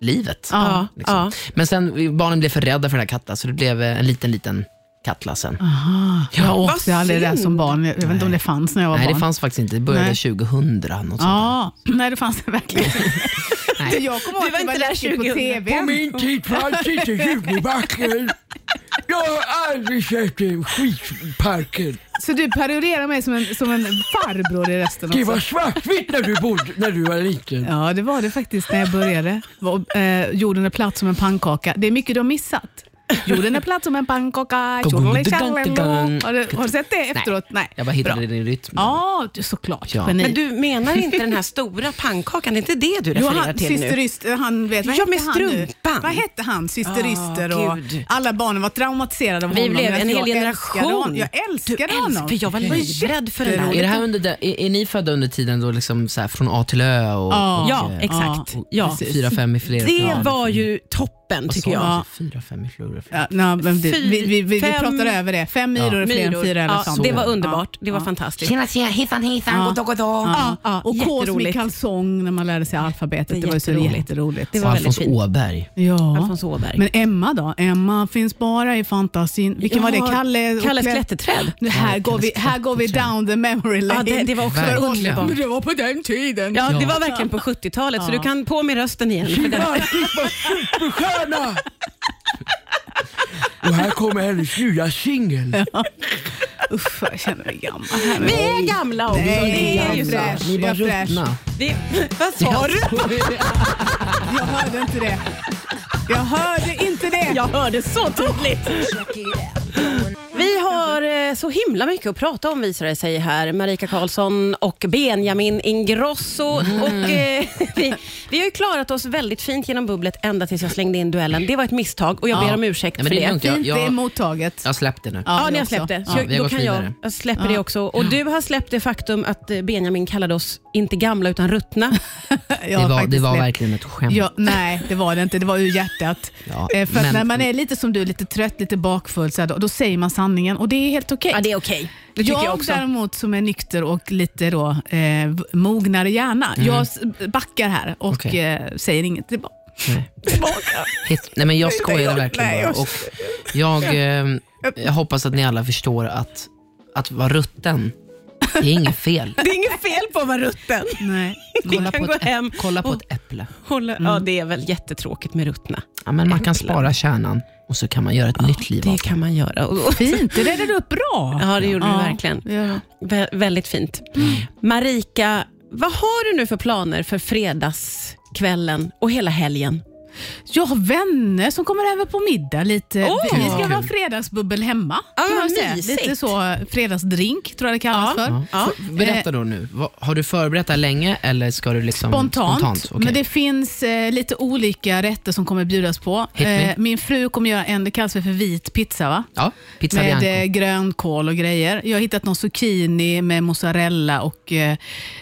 Speaker 2: livet.
Speaker 1: Ja,
Speaker 2: Liksom.
Speaker 1: ja.
Speaker 2: Men sen, barnen blev för rädda för den här Katla, så det blev eh, en liten, liten Katla sen.
Speaker 3: Ah. Aha.
Speaker 2: Ja, och,
Speaker 1: Vad
Speaker 3: Jag hade det där
Speaker 1: synd.
Speaker 3: som barn. Jag vet inte om det fanns när jag var
Speaker 2: nej,
Speaker 3: barn.
Speaker 2: det fanns faktiskt inte. Det började
Speaker 3: Nej.
Speaker 2: 2000. Något sånt. där.
Speaker 3: Ja, nej det fanns det verkligen inte.
Speaker 2: Nej.
Speaker 3: Jag kommer ihåg
Speaker 1: Du
Speaker 3: att
Speaker 1: var
Speaker 3: det
Speaker 1: inte
Speaker 3: var
Speaker 1: där
Speaker 3: läskigt på
Speaker 1: 2000.
Speaker 3: tv.
Speaker 4: min tid fanns inte Junibacken. Jag har aldrig sett den skitparken.
Speaker 3: Så du parodierar mig som en, som en farbror i resten
Speaker 4: Det
Speaker 3: också.
Speaker 4: var svartvitt när du bodde, när du var liten.
Speaker 3: Ja, det var det faktiskt när jag började. Var, eh, jorden är platt som en pannkaka. Det är mycket du har missat. Jorden är platt som en pannkaka. tjololitjalelo. Har du- har du sett det efteråt? Nej.
Speaker 2: Jag bara hittade
Speaker 3: Bra.
Speaker 2: din rytm.
Speaker 3: Ja, du- såklart.
Speaker 2: Ja.
Speaker 3: Geni.
Speaker 1: Men du menar inte den här stora pannkakan? Det är inte det du
Speaker 3: Jo,
Speaker 1: refererar
Speaker 3: han,
Speaker 1: till
Speaker 3: syster
Speaker 1: nu?
Speaker 3: Yster, han vet, vad
Speaker 1: Ja,
Speaker 3: hette
Speaker 1: med
Speaker 3: han nu?
Speaker 1: strumpan.
Speaker 3: Vad hette han, syster
Speaker 1: Ah,
Speaker 3: Yster? Och
Speaker 1: gud.
Speaker 3: alla barnen var traumatiserade av
Speaker 1: Vi
Speaker 3: honom.
Speaker 1: blev
Speaker 3: men
Speaker 1: en hel
Speaker 3: jag älskade
Speaker 1: generation.
Speaker 3: honom. Jag älskade
Speaker 1: Du
Speaker 3: honom.
Speaker 1: älskar- för jag var livrädd för den där.
Speaker 2: Är, det här under, de- är, är ni födda under tiden då liksom så här från A till Ö? Och, och,
Speaker 1: Ja,
Speaker 2: eh,
Speaker 1: exakt.
Speaker 2: och-
Speaker 1: Ja.
Speaker 2: och Fyra, fem i flera
Speaker 1: Det var ju toppen tycker jag.
Speaker 2: Fyra, fem i flera.
Speaker 3: Ja, na, men vi,
Speaker 1: Fy-
Speaker 3: vi, vi, vi, vi
Speaker 1: fem-
Speaker 3: pratar över det. Fem myror är fler än
Speaker 1: Myror.
Speaker 3: fyra eller
Speaker 1: Ja,
Speaker 3: sånt.
Speaker 1: det var underbart. Det var
Speaker 3: Ja.
Speaker 1: fantastiskt.
Speaker 5: Tjena tjena, hejsan hejsan,
Speaker 3: Ja.
Speaker 5: goddag goddag.
Speaker 3: Ja.
Speaker 1: Ja,
Speaker 3: och kosmisk
Speaker 1: jätteroligt.
Speaker 3: kalsong när man lärde sig
Speaker 1: Det är
Speaker 3: alfabetet. Det var ju så
Speaker 1: jätteroligt.
Speaker 3: jätteroligt.
Speaker 1: Det
Speaker 2: Och
Speaker 1: var väldigt
Speaker 2: Alfons
Speaker 1: fint.
Speaker 2: Åberg.
Speaker 3: Ja.
Speaker 1: Alfons Åberg.
Speaker 3: Men Emma då? Emma finns bara i fantasin. Vilken var det?
Speaker 1: Ja,
Speaker 3: Kalle och
Speaker 1: Kalles
Speaker 3: Klätt-
Speaker 1: klätterträd.
Speaker 3: Nu här, går vi, här går vi down the memory lane.
Speaker 1: Ja, det, det var också
Speaker 2: Verkligen.
Speaker 1: underbart.
Speaker 3: Men det var på den tiden.
Speaker 1: Ja, det var verkligen på 70-talet, så du kan på med rösten igen. För den.
Speaker 4: Marcus var superstjärna! Och här kommer hennes nya singel.
Speaker 3: Uff, jag känner mig gammal.
Speaker 1: Vi är gamla också.
Speaker 3: Nej,
Speaker 1: det är ju
Speaker 3: jag
Speaker 1: så.
Speaker 3: är fräsch.
Speaker 2: Ni
Speaker 3: Jag
Speaker 2: bara
Speaker 3: är fräsch.
Speaker 2: ruttna.
Speaker 1: Vi, vad sa du?
Speaker 3: Jag hörde inte det. Jag hörde inte det.
Speaker 1: Jag hörde så tydligt. Vi har eh, så himla mycket att prata om visar det sig här. Marika Karlsson och Benjamin Ingrosso.
Speaker 2: Mm.
Speaker 1: Och, eh, vi, vi har ju klarat oss väldigt fint genom bubblet ända tills jag slängde in duellen. Det var ett misstag och jag ber om ursäkt
Speaker 2: Nej, men
Speaker 1: för
Speaker 2: det är
Speaker 1: det.
Speaker 2: lugnt.
Speaker 3: Fint,
Speaker 2: Jag,
Speaker 3: det är
Speaker 2: jag,
Speaker 3: mottaget.
Speaker 2: jag släppte nu.
Speaker 1: Ja,
Speaker 3: jag
Speaker 1: ni har
Speaker 3: också.
Speaker 1: släppt det. Så
Speaker 2: Ja, vi
Speaker 1: jag,
Speaker 2: har
Speaker 1: då
Speaker 2: gått
Speaker 1: kan jag,
Speaker 2: vidare.
Speaker 1: jag släpper det också. Och du har släppt det faktum att eh, Benjamin kallade oss inte gamla utan ruttna.
Speaker 3: Jag
Speaker 2: Det
Speaker 3: har
Speaker 2: var, det
Speaker 3: faktiskt
Speaker 2: var
Speaker 3: släppt.
Speaker 2: verkligen ett skämt.
Speaker 3: Ja, nej, det var det inte. Det var ur hjärtat.
Speaker 2: Ja,
Speaker 3: Eh, För att
Speaker 2: men-
Speaker 3: när man är lite som du, lite trött, lite bakfull, så här, då, då säger man sanningen och det är helt okej.
Speaker 1: Ja, det är okej. Det tycker jag,
Speaker 3: jag
Speaker 1: också.
Speaker 3: däremot som är nykter och lite då, eh, v- mognare hjärna, jag s- backar här och
Speaker 2: Mm. Okej.
Speaker 3: eh, säger inget tillbaka.
Speaker 2: Nej. Hit- Nej men jag skojade verkligen
Speaker 3: nej,
Speaker 2: bara.
Speaker 3: jag-
Speaker 2: Och jag, eh, jag hoppas att ni alla förstår att, att vara rutten, det är inget fel.
Speaker 1: Det är inget fel på att vara rutten.
Speaker 3: Nej.
Speaker 2: Kolla
Speaker 1: kan
Speaker 2: på,
Speaker 1: gå
Speaker 2: ett,
Speaker 1: hem
Speaker 2: äpp- kolla på
Speaker 1: och-
Speaker 2: ett äpple.
Speaker 1: Hålla, Ja, det är väl jättetråkigt med ruttna.
Speaker 2: Ja, men man kan spara kärnan och så kan man göra ett nytt liv av
Speaker 1: Det kan man göra. Och- och-
Speaker 3: Fint, det räddade upp bra.
Speaker 1: Ja, det gjorde
Speaker 3: Ja, Mm.
Speaker 1: du verkligen.
Speaker 3: ja.
Speaker 1: Vä- väldigt fint. Marika, vad har du nu för planer för fredagskvällen och hela helgen?
Speaker 3: Jag har vänner som kommer över på middag lite.
Speaker 1: Åh!
Speaker 3: Vi ska
Speaker 2: Kul.
Speaker 3: ha fredagsbubbel hemma.
Speaker 1: Ja,
Speaker 3: kan man
Speaker 1: vad
Speaker 3: säga.
Speaker 1: mysigt.
Speaker 3: Lite så fredagsdrink tror jag det kallas
Speaker 1: Ja.
Speaker 3: för. Eh,
Speaker 2: Ja.
Speaker 1: Ja.
Speaker 2: F- Berätta då nu, Vad- har du förberett det här länge eller ska du liksom...
Speaker 3: Spontant,
Speaker 2: okej.
Speaker 3: men det finns eh, lite olika rätter som kommer bjudas på. Eh,
Speaker 2: Hit me.
Speaker 3: min fru kommer göra en, det kallas väl för vit pizza va?
Speaker 2: Ja, pizza
Speaker 3: Med
Speaker 2: bianco.
Speaker 3: eh, grönkål och grejer. Jag har hittat någon zucchini med mozzarella och eh,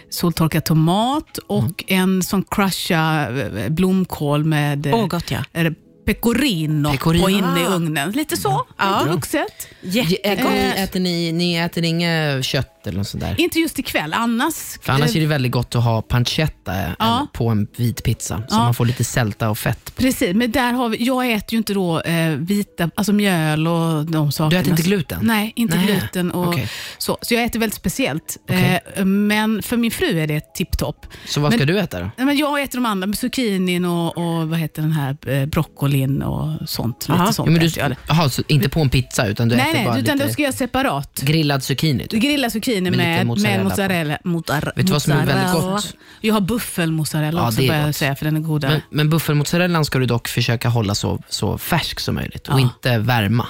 Speaker 3: soltorkad tomat och
Speaker 2: Mm.
Speaker 3: en som crushar eh, blomkål med eh,
Speaker 1: Åh, gott ja.
Speaker 3: eh, pecorino,
Speaker 2: Pecorino. Mm.
Speaker 3: på inne i ugnen. Lite så,
Speaker 1: Ja.
Speaker 3: lite vuxet.
Speaker 2: äter, eh, ni,
Speaker 1: Jättegott.
Speaker 2: äter ni, ni äter inget kött eller något sånt där?
Speaker 3: Inte just ikväll, annars.
Speaker 2: För annars
Speaker 3: eh,
Speaker 2: är det väldigt gott att ha pancetta eh,
Speaker 3: Ja.
Speaker 2: på en vit pizza, så
Speaker 3: Ja.
Speaker 2: man får lite sälta och fett.
Speaker 3: Precis, men där har vi, jag äter ju inte då eh, vita, alltså mjöl och de sakerna.
Speaker 2: Du äter inte gluten?
Speaker 3: Nej, inte
Speaker 2: Nej,
Speaker 3: gluten. Och
Speaker 2: okej.
Speaker 3: så, så jag äter väldigt speciellt.
Speaker 2: Okej.
Speaker 3: Eh, men för min fru är det tipptopp.
Speaker 2: Så vad ska
Speaker 3: Men-
Speaker 2: du äta då?
Speaker 3: Nej, men Jag äter de andra, med zucchinin och, och vad heter den här, eh, broccolin och sånt.
Speaker 1: Aha.
Speaker 3: Lite
Speaker 2: Ja,
Speaker 3: sånt
Speaker 2: men du,
Speaker 3: äter jag.
Speaker 2: aha, så inte på en pizza utan du
Speaker 3: Nej,
Speaker 2: äter
Speaker 3: nej,
Speaker 2: bara
Speaker 3: utan
Speaker 2: lite
Speaker 3: det ska jag separat.
Speaker 2: grillad zucchini? typ.
Speaker 3: Grilla zucchini
Speaker 2: Med lite
Speaker 3: med,
Speaker 2: mozzarella
Speaker 3: med
Speaker 2: på.
Speaker 3: mozzarella. Mozzarella.
Speaker 2: Vet du vad som är väldigt gott?
Speaker 3: Jag har buffelmozzarella
Speaker 2: Ja,
Speaker 3: också,
Speaker 2: det är
Speaker 3: börjar jag
Speaker 2: gott.
Speaker 3: säga, för den är godare.
Speaker 2: Men, men buffelmozzarellan ska du dock försöka hålla så, så färsk som möjligt och
Speaker 3: Ja.
Speaker 2: inte värma.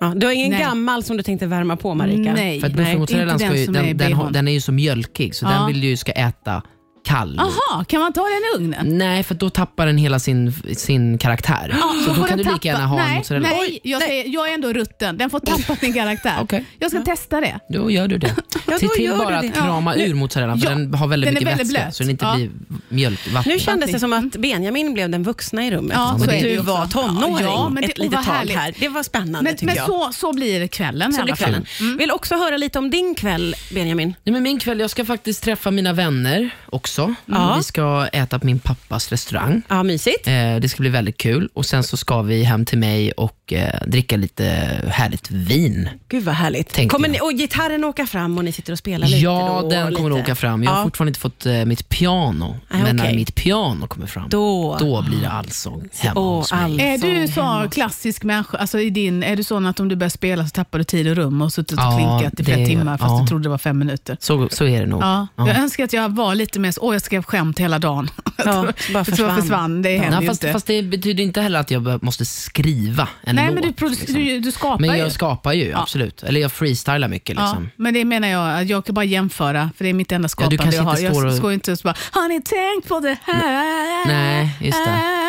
Speaker 1: Ja, du har ingen
Speaker 3: Nej.
Speaker 1: gammal som du tänkte värma på, Marika?
Speaker 3: Nej.
Speaker 2: För att
Speaker 1: Nej,
Speaker 2: buffelmozzarellan
Speaker 3: inte
Speaker 2: ska
Speaker 3: den
Speaker 2: ju,
Speaker 3: som
Speaker 2: den,
Speaker 3: är i
Speaker 2: den, har-
Speaker 3: bhn.
Speaker 2: den är ju som mjölkig, så
Speaker 3: Ja.
Speaker 2: den vill du ju ska äta kall.
Speaker 3: Aha, kan man ta den i ugnen?
Speaker 2: Nej, för då tappar den hela sin, sin karaktär. så då
Speaker 3: får
Speaker 2: kan
Speaker 3: Ah, den
Speaker 2: du lika gärna ha en
Speaker 3: nej,
Speaker 2: mozzarella.
Speaker 3: Nej, jag, Säger, jag är ändå rutten. Den får tappa sin karaktär.
Speaker 2: Okej.
Speaker 3: Jag ska testa det.
Speaker 2: Då gör du det. Se
Speaker 1: då
Speaker 2: till
Speaker 1: gör
Speaker 2: bara
Speaker 1: du
Speaker 2: att
Speaker 1: det.
Speaker 2: krama ur mozzarellan, för
Speaker 3: Ja,
Speaker 2: den har väldigt
Speaker 3: den är
Speaker 2: mycket
Speaker 3: väldigt
Speaker 2: vätska,
Speaker 3: blöt.
Speaker 2: så den inte
Speaker 3: Ja.
Speaker 2: blir mjölkvatten.
Speaker 1: Nu kändes det som att Benjamin blev den vuxna i rummet.
Speaker 3: Mm. Ja,
Speaker 1: Som
Speaker 3: så
Speaker 1: att
Speaker 3: är det
Speaker 1: du
Speaker 3: ju också.
Speaker 1: var tonåring
Speaker 3: Ja, men det-
Speaker 1: ett litet
Speaker 3: och vad
Speaker 1: tag
Speaker 3: härligt.
Speaker 1: här. Det var spännande
Speaker 3: Men,
Speaker 1: tycker
Speaker 3: men
Speaker 1: jag.
Speaker 3: så, så blir kvällen i
Speaker 1: Så
Speaker 3: alla
Speaker 1: blir
Speaker 3: fall. Mm.
Speaker 1: kvällen. Vill också höra lite om din kväll, Benjamin.
Speaker 2: Nej, men min kväll, jag ska faktiskt träffa mina vänner också. Vi ska äta på min pappas restaurang.
Speaker 1: Ja, mysigt.
Speaker 2: Eh, det ska bli väldigt kul. Och Sen så ska vi hem till mig och eh, dricka lite härligt vin.
Speaker 1: Gud vad härligt.
Speaker 2: Tänkte
Speaker 1: Kommer
Speaker 2: jag.
Speaker 1: ni, och gitarren åka fram och ni sitter och spelar lite
Speaker 2: Ja,
Speaker 1: då,
Speaker 2: den
Speaker 1: och
Speaker 2: kommer
Speaker 1: lite.
Speaker 2: att åka fram. Jag har fortfarande inte fått eh, mitt piano.
Speaker 1: Nej,
Speaker 2: men när
Speaker 1: okej.
Speaker 2: mitt piano kommer fram,
Speaker 1: Då-
Speaker 2: då blir det allsång hemma
Speaker 1: Åh,
Speaker 2: hos mig.
Speaker 1: all-
Speaker 3: Är du
Speaker 1: Sång
Speaker 3: så klassisk människa, alltså i din, är du sån att om du börjar spela så tappar du tid och rum och suttit och
Speaker 2: Ja,
Speaker 3: klinkat i flera
Speaker 2: det-
Speaker 3: timmar fast
Speaker 2: ja.
Speaker 3: du trodde det var fem minuter?
Speaker 2: Så, så är det nog.
Speaker 3: Ja.
Speaker 2: Ja.
Speaker 3: Jag önskar att jag var lite mer så, åh jag skrev skämt hela dagen.
Speaker 1: Ja, så bara
Speaker 3: Så
Speaker 1: försvann.
Speaker 3: försvann. Det händer
Speaker 2: Ja,
Speaker 3: ju
Speaker 2: fast,
Speaker 3: inte.
Speaker 2: fast det betyder inte heller att jag be- måste skriva en
Speaker 3: Nej,
Speaker 2: låt. liksom.
Speaker 3: men du, produ- du, du skapar
Speaker 2: men
Speaker 3: ju.
Speaker 2: jag skapar ju, absolut. Eller jag freestylar mycket.
Speaker 3: Ja,
Speaker 2: Liksom.
Speaker 3: men det menar jag, att jag kan bara jämföra, för det är mitt enda
Speaker 2: Ja, du
Speaker 3: skapande
Speaker 2: kanske
Speaker 3: jag har.
Speaker 2: inte står
Speaker 3: Jag
Speaker 2: och-
Speaker 3: står ju inte och så bara, har ni tänkt på det här? Ah.
Speaker 2: Nej, just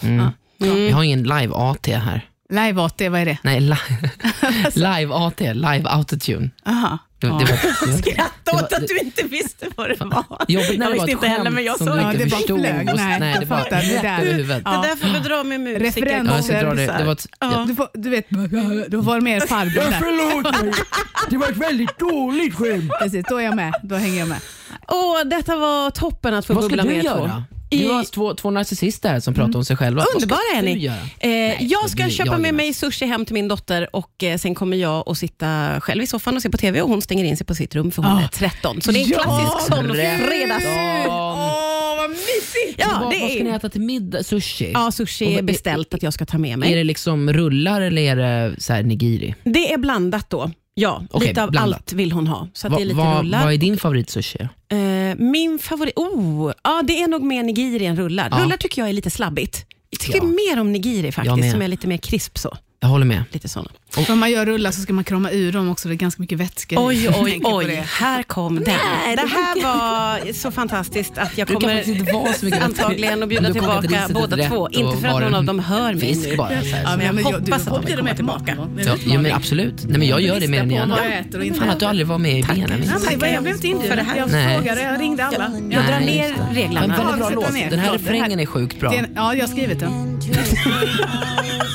Speaker 3: det.
Speaker 1: Mm.
Speaker 2: Jag har ingen live-AT här.
Speaker 3: Live-AT, vad är det?
Speaker 2: Nej, li- live-AT, live-autotune.
Speaker 3: Aha.
Speaker 2: Det, det
Speaker 3: Ja.
Speaker 2: var, det var,
Speaker 1: Skratta
Speaker 2: var-
Speaker 1: åt att du inte visste vad det var.
Speaker 2: jobbigt när
Speaker 1: jag
Speaker 2: det var
Speaker 1: visste
Speaker 2: ett
Speaker 1: inte heller, men jag
Speaker 2: skämt
Speaker 1: såg
Speaker 2: som du
Speaker 1: det.
Speaker 3: Ja,
Speaker 2: inte
Speaker 3: det bara
Speaker 2: förstod.
Speaker 3: flög.
Speaker 2: och-
Speaker 3: Nej,
Speaker 2: Nej, det
Speaker 3: jag
Speaker 2: bara
Speaker 3: fattar. Det
Speaker 2: rätt
Speaker 3: där-
Speaker 2: över huvudet.
Speaker 3: Ja.
Speaker 1: Det där får vi dra med musiker.
Speaker 3: Referenser.
Speaker 2: Ja, jag ska dra det.
Speaker 1: kompisar.
Speaker 2: Det var ett,
Speaker 1: Ja.
Speaker 3: Du, får, du vet, då var det mer farbror
Speaker 4: Jag
Speaker 3: där.
Speaker 4: förlåter. dig. Det var ett väldigt dåligt skämt.
Speaker 3: Precis, då är jag med. Då hänger jag med.
Speaker 1: Åh, detta var toppen att få
Speaker 2: Vad
Speaker 1: bubbla
Speaker 2: skulle
Speaker 1: med
Speaker 2: du
Speaker 1: er två.
Speaker 2: göra?
Speaker 1: I- Mm.
Speaker 2: Du har två, två narcissister här som pratar om sig själva. Vad
Speaker 1: Underbara
Speaker 2: skulle
Speaker 1: är
Speaker 2: du
Speaker 1: ni.
Speaker 2: göra?
Speaker 1: Eh, jag ska
Speaker 2: det-
Speaker 1: köpa
Speaker 2: jag är
Speaker 1: med
Speaker 2: med.
Speaker 1: mig sushi hem till min dotter och eh, sen kommer jag och sitta själv i soffan och se på TV och hon stänger in sig på sitt rum för hon
Speaker 3: Ah.
Speaker 1: är 13. Så det är en
Speaker 3: Ja,
Speaker 1: klassisk sån
Speaker 2: Rätt
Speaker 1: fredags...
Speaker 2: om.
Speaker 3: Åh, vad mysigt!
Speaker 1: Ja,
Speaker 2: vad, vad
Speaker 1: det
Speaker 2: ska ni
Speaker 1: är...
Speaker 2: äta till middag? Sushi?
Speaker 1: Ja, sushi
Speaker 2: Och
Speaker 1: är
Speaker 2: vad-
Speaker 1: beställt att jag ska ta med
Speaker 2: Är
Speaker 1: mig.
Speaker 2: det liksom rullar eller är det så här nigiri?
Speaker 1: Det är blandat då. Ja,
Speaker 2: Okej,
Speaker 1: lite av
Speaker 2: blandat.
Speaker 1: allt vill hon ha. Så att
Speaker 2: Va,
Speaker 1: det är lite
Speaker 2: va,
Speaker 1: rullar.
Speaker 2: vad är din favoritsushi?
Speaker 1: Eh, min favorit... Oh, ja, det är nog mer nigiri än rullar.
Speaker 2: Ja.
Speaker 1: Rullar tycker jag är lite slabbigt. Jag tycker
Speaker 2: Ja.
Speaker 1: mer om nigiri
Speaker 2: med.
Speaker 1: faktiskt, som är lite mer krisp så.
Speaker 2: Jag håller med.
Speaker 1: Lite såna.
Speaker 3: Om man gör rullar så ska man krama ur dem också. Det är ganska mycket vätska i.
Speaker 1: Oj,
Speaker 3: Jag
Speaker 1: oj,
Speaker 3: tänker på
Speaker 1: oj.
Speaker 3: det.
Speaker 1: Här kom den. Det här var så fantastiskt att jag
Speaker 2: Du kan
Speaker 1: kommer
Speaker 2: faktiskt inte vara så mycket bättre.
Speaker 1: antagligen att
Speaker 2: Om
Speaker 1: bjuda
Speaker 2: du kokat
Speaker 1: tillbaka
Speaker 2: riset
Speaker 1: båda
Speaker 2: rätt
Speaker 1: två.
Speaker 2: och
Speaker 1: Inte för att
Speaker 2: var
Speaker 1: någon
Speaker 2: en
Speaker 1: av dem hör mig
Speaker 2: Fisk
Speaker 1: nu.
Speaker 2: bara. Så här.
Speaker 3: Ja, men jag, men jag-
Speaker 1: hoppas
Speaker 3: du-
Speaker 1: att de
Speaker 3: bjuder
Speaker 1: kommer
Speaker 3: mig
Speaker 1: tillbaka.
Speaker 3: imorgon.
Speaker 2: Ja, ja, men absolut. Nej, men jag gör det mer än
Speaker 3: Lista på
Speaker 2: gärna.
Speaker 3: vad jag äter och inte
Speaker 2: Fan att du aldrig var med i Benjamin.
Speaker 3: Nej, men Jag blev inte inbjuden.
Speaker 1: För det här.
Speaker 3: Jag
Speaker 2: Nej.
Speaker 3: frågade, jag ringde alla.
Speaker 1: Jag drar
Speaker 2: Nej,
Speaker 1: ner
Speaker 2: just det.
Speaker 1: reglarna.
Speaker 2: Men väldigt bra
Speaker 3: Ja, vi sätter
Speaker 2: låt.
Speaker 3: ner.
Speaker 2: Den här
Speaker 3: Ja, det här-
Speaker 2: refrängen är sjukt bra.
Speaker 3: Det är en- Ja, jag har skrivit den.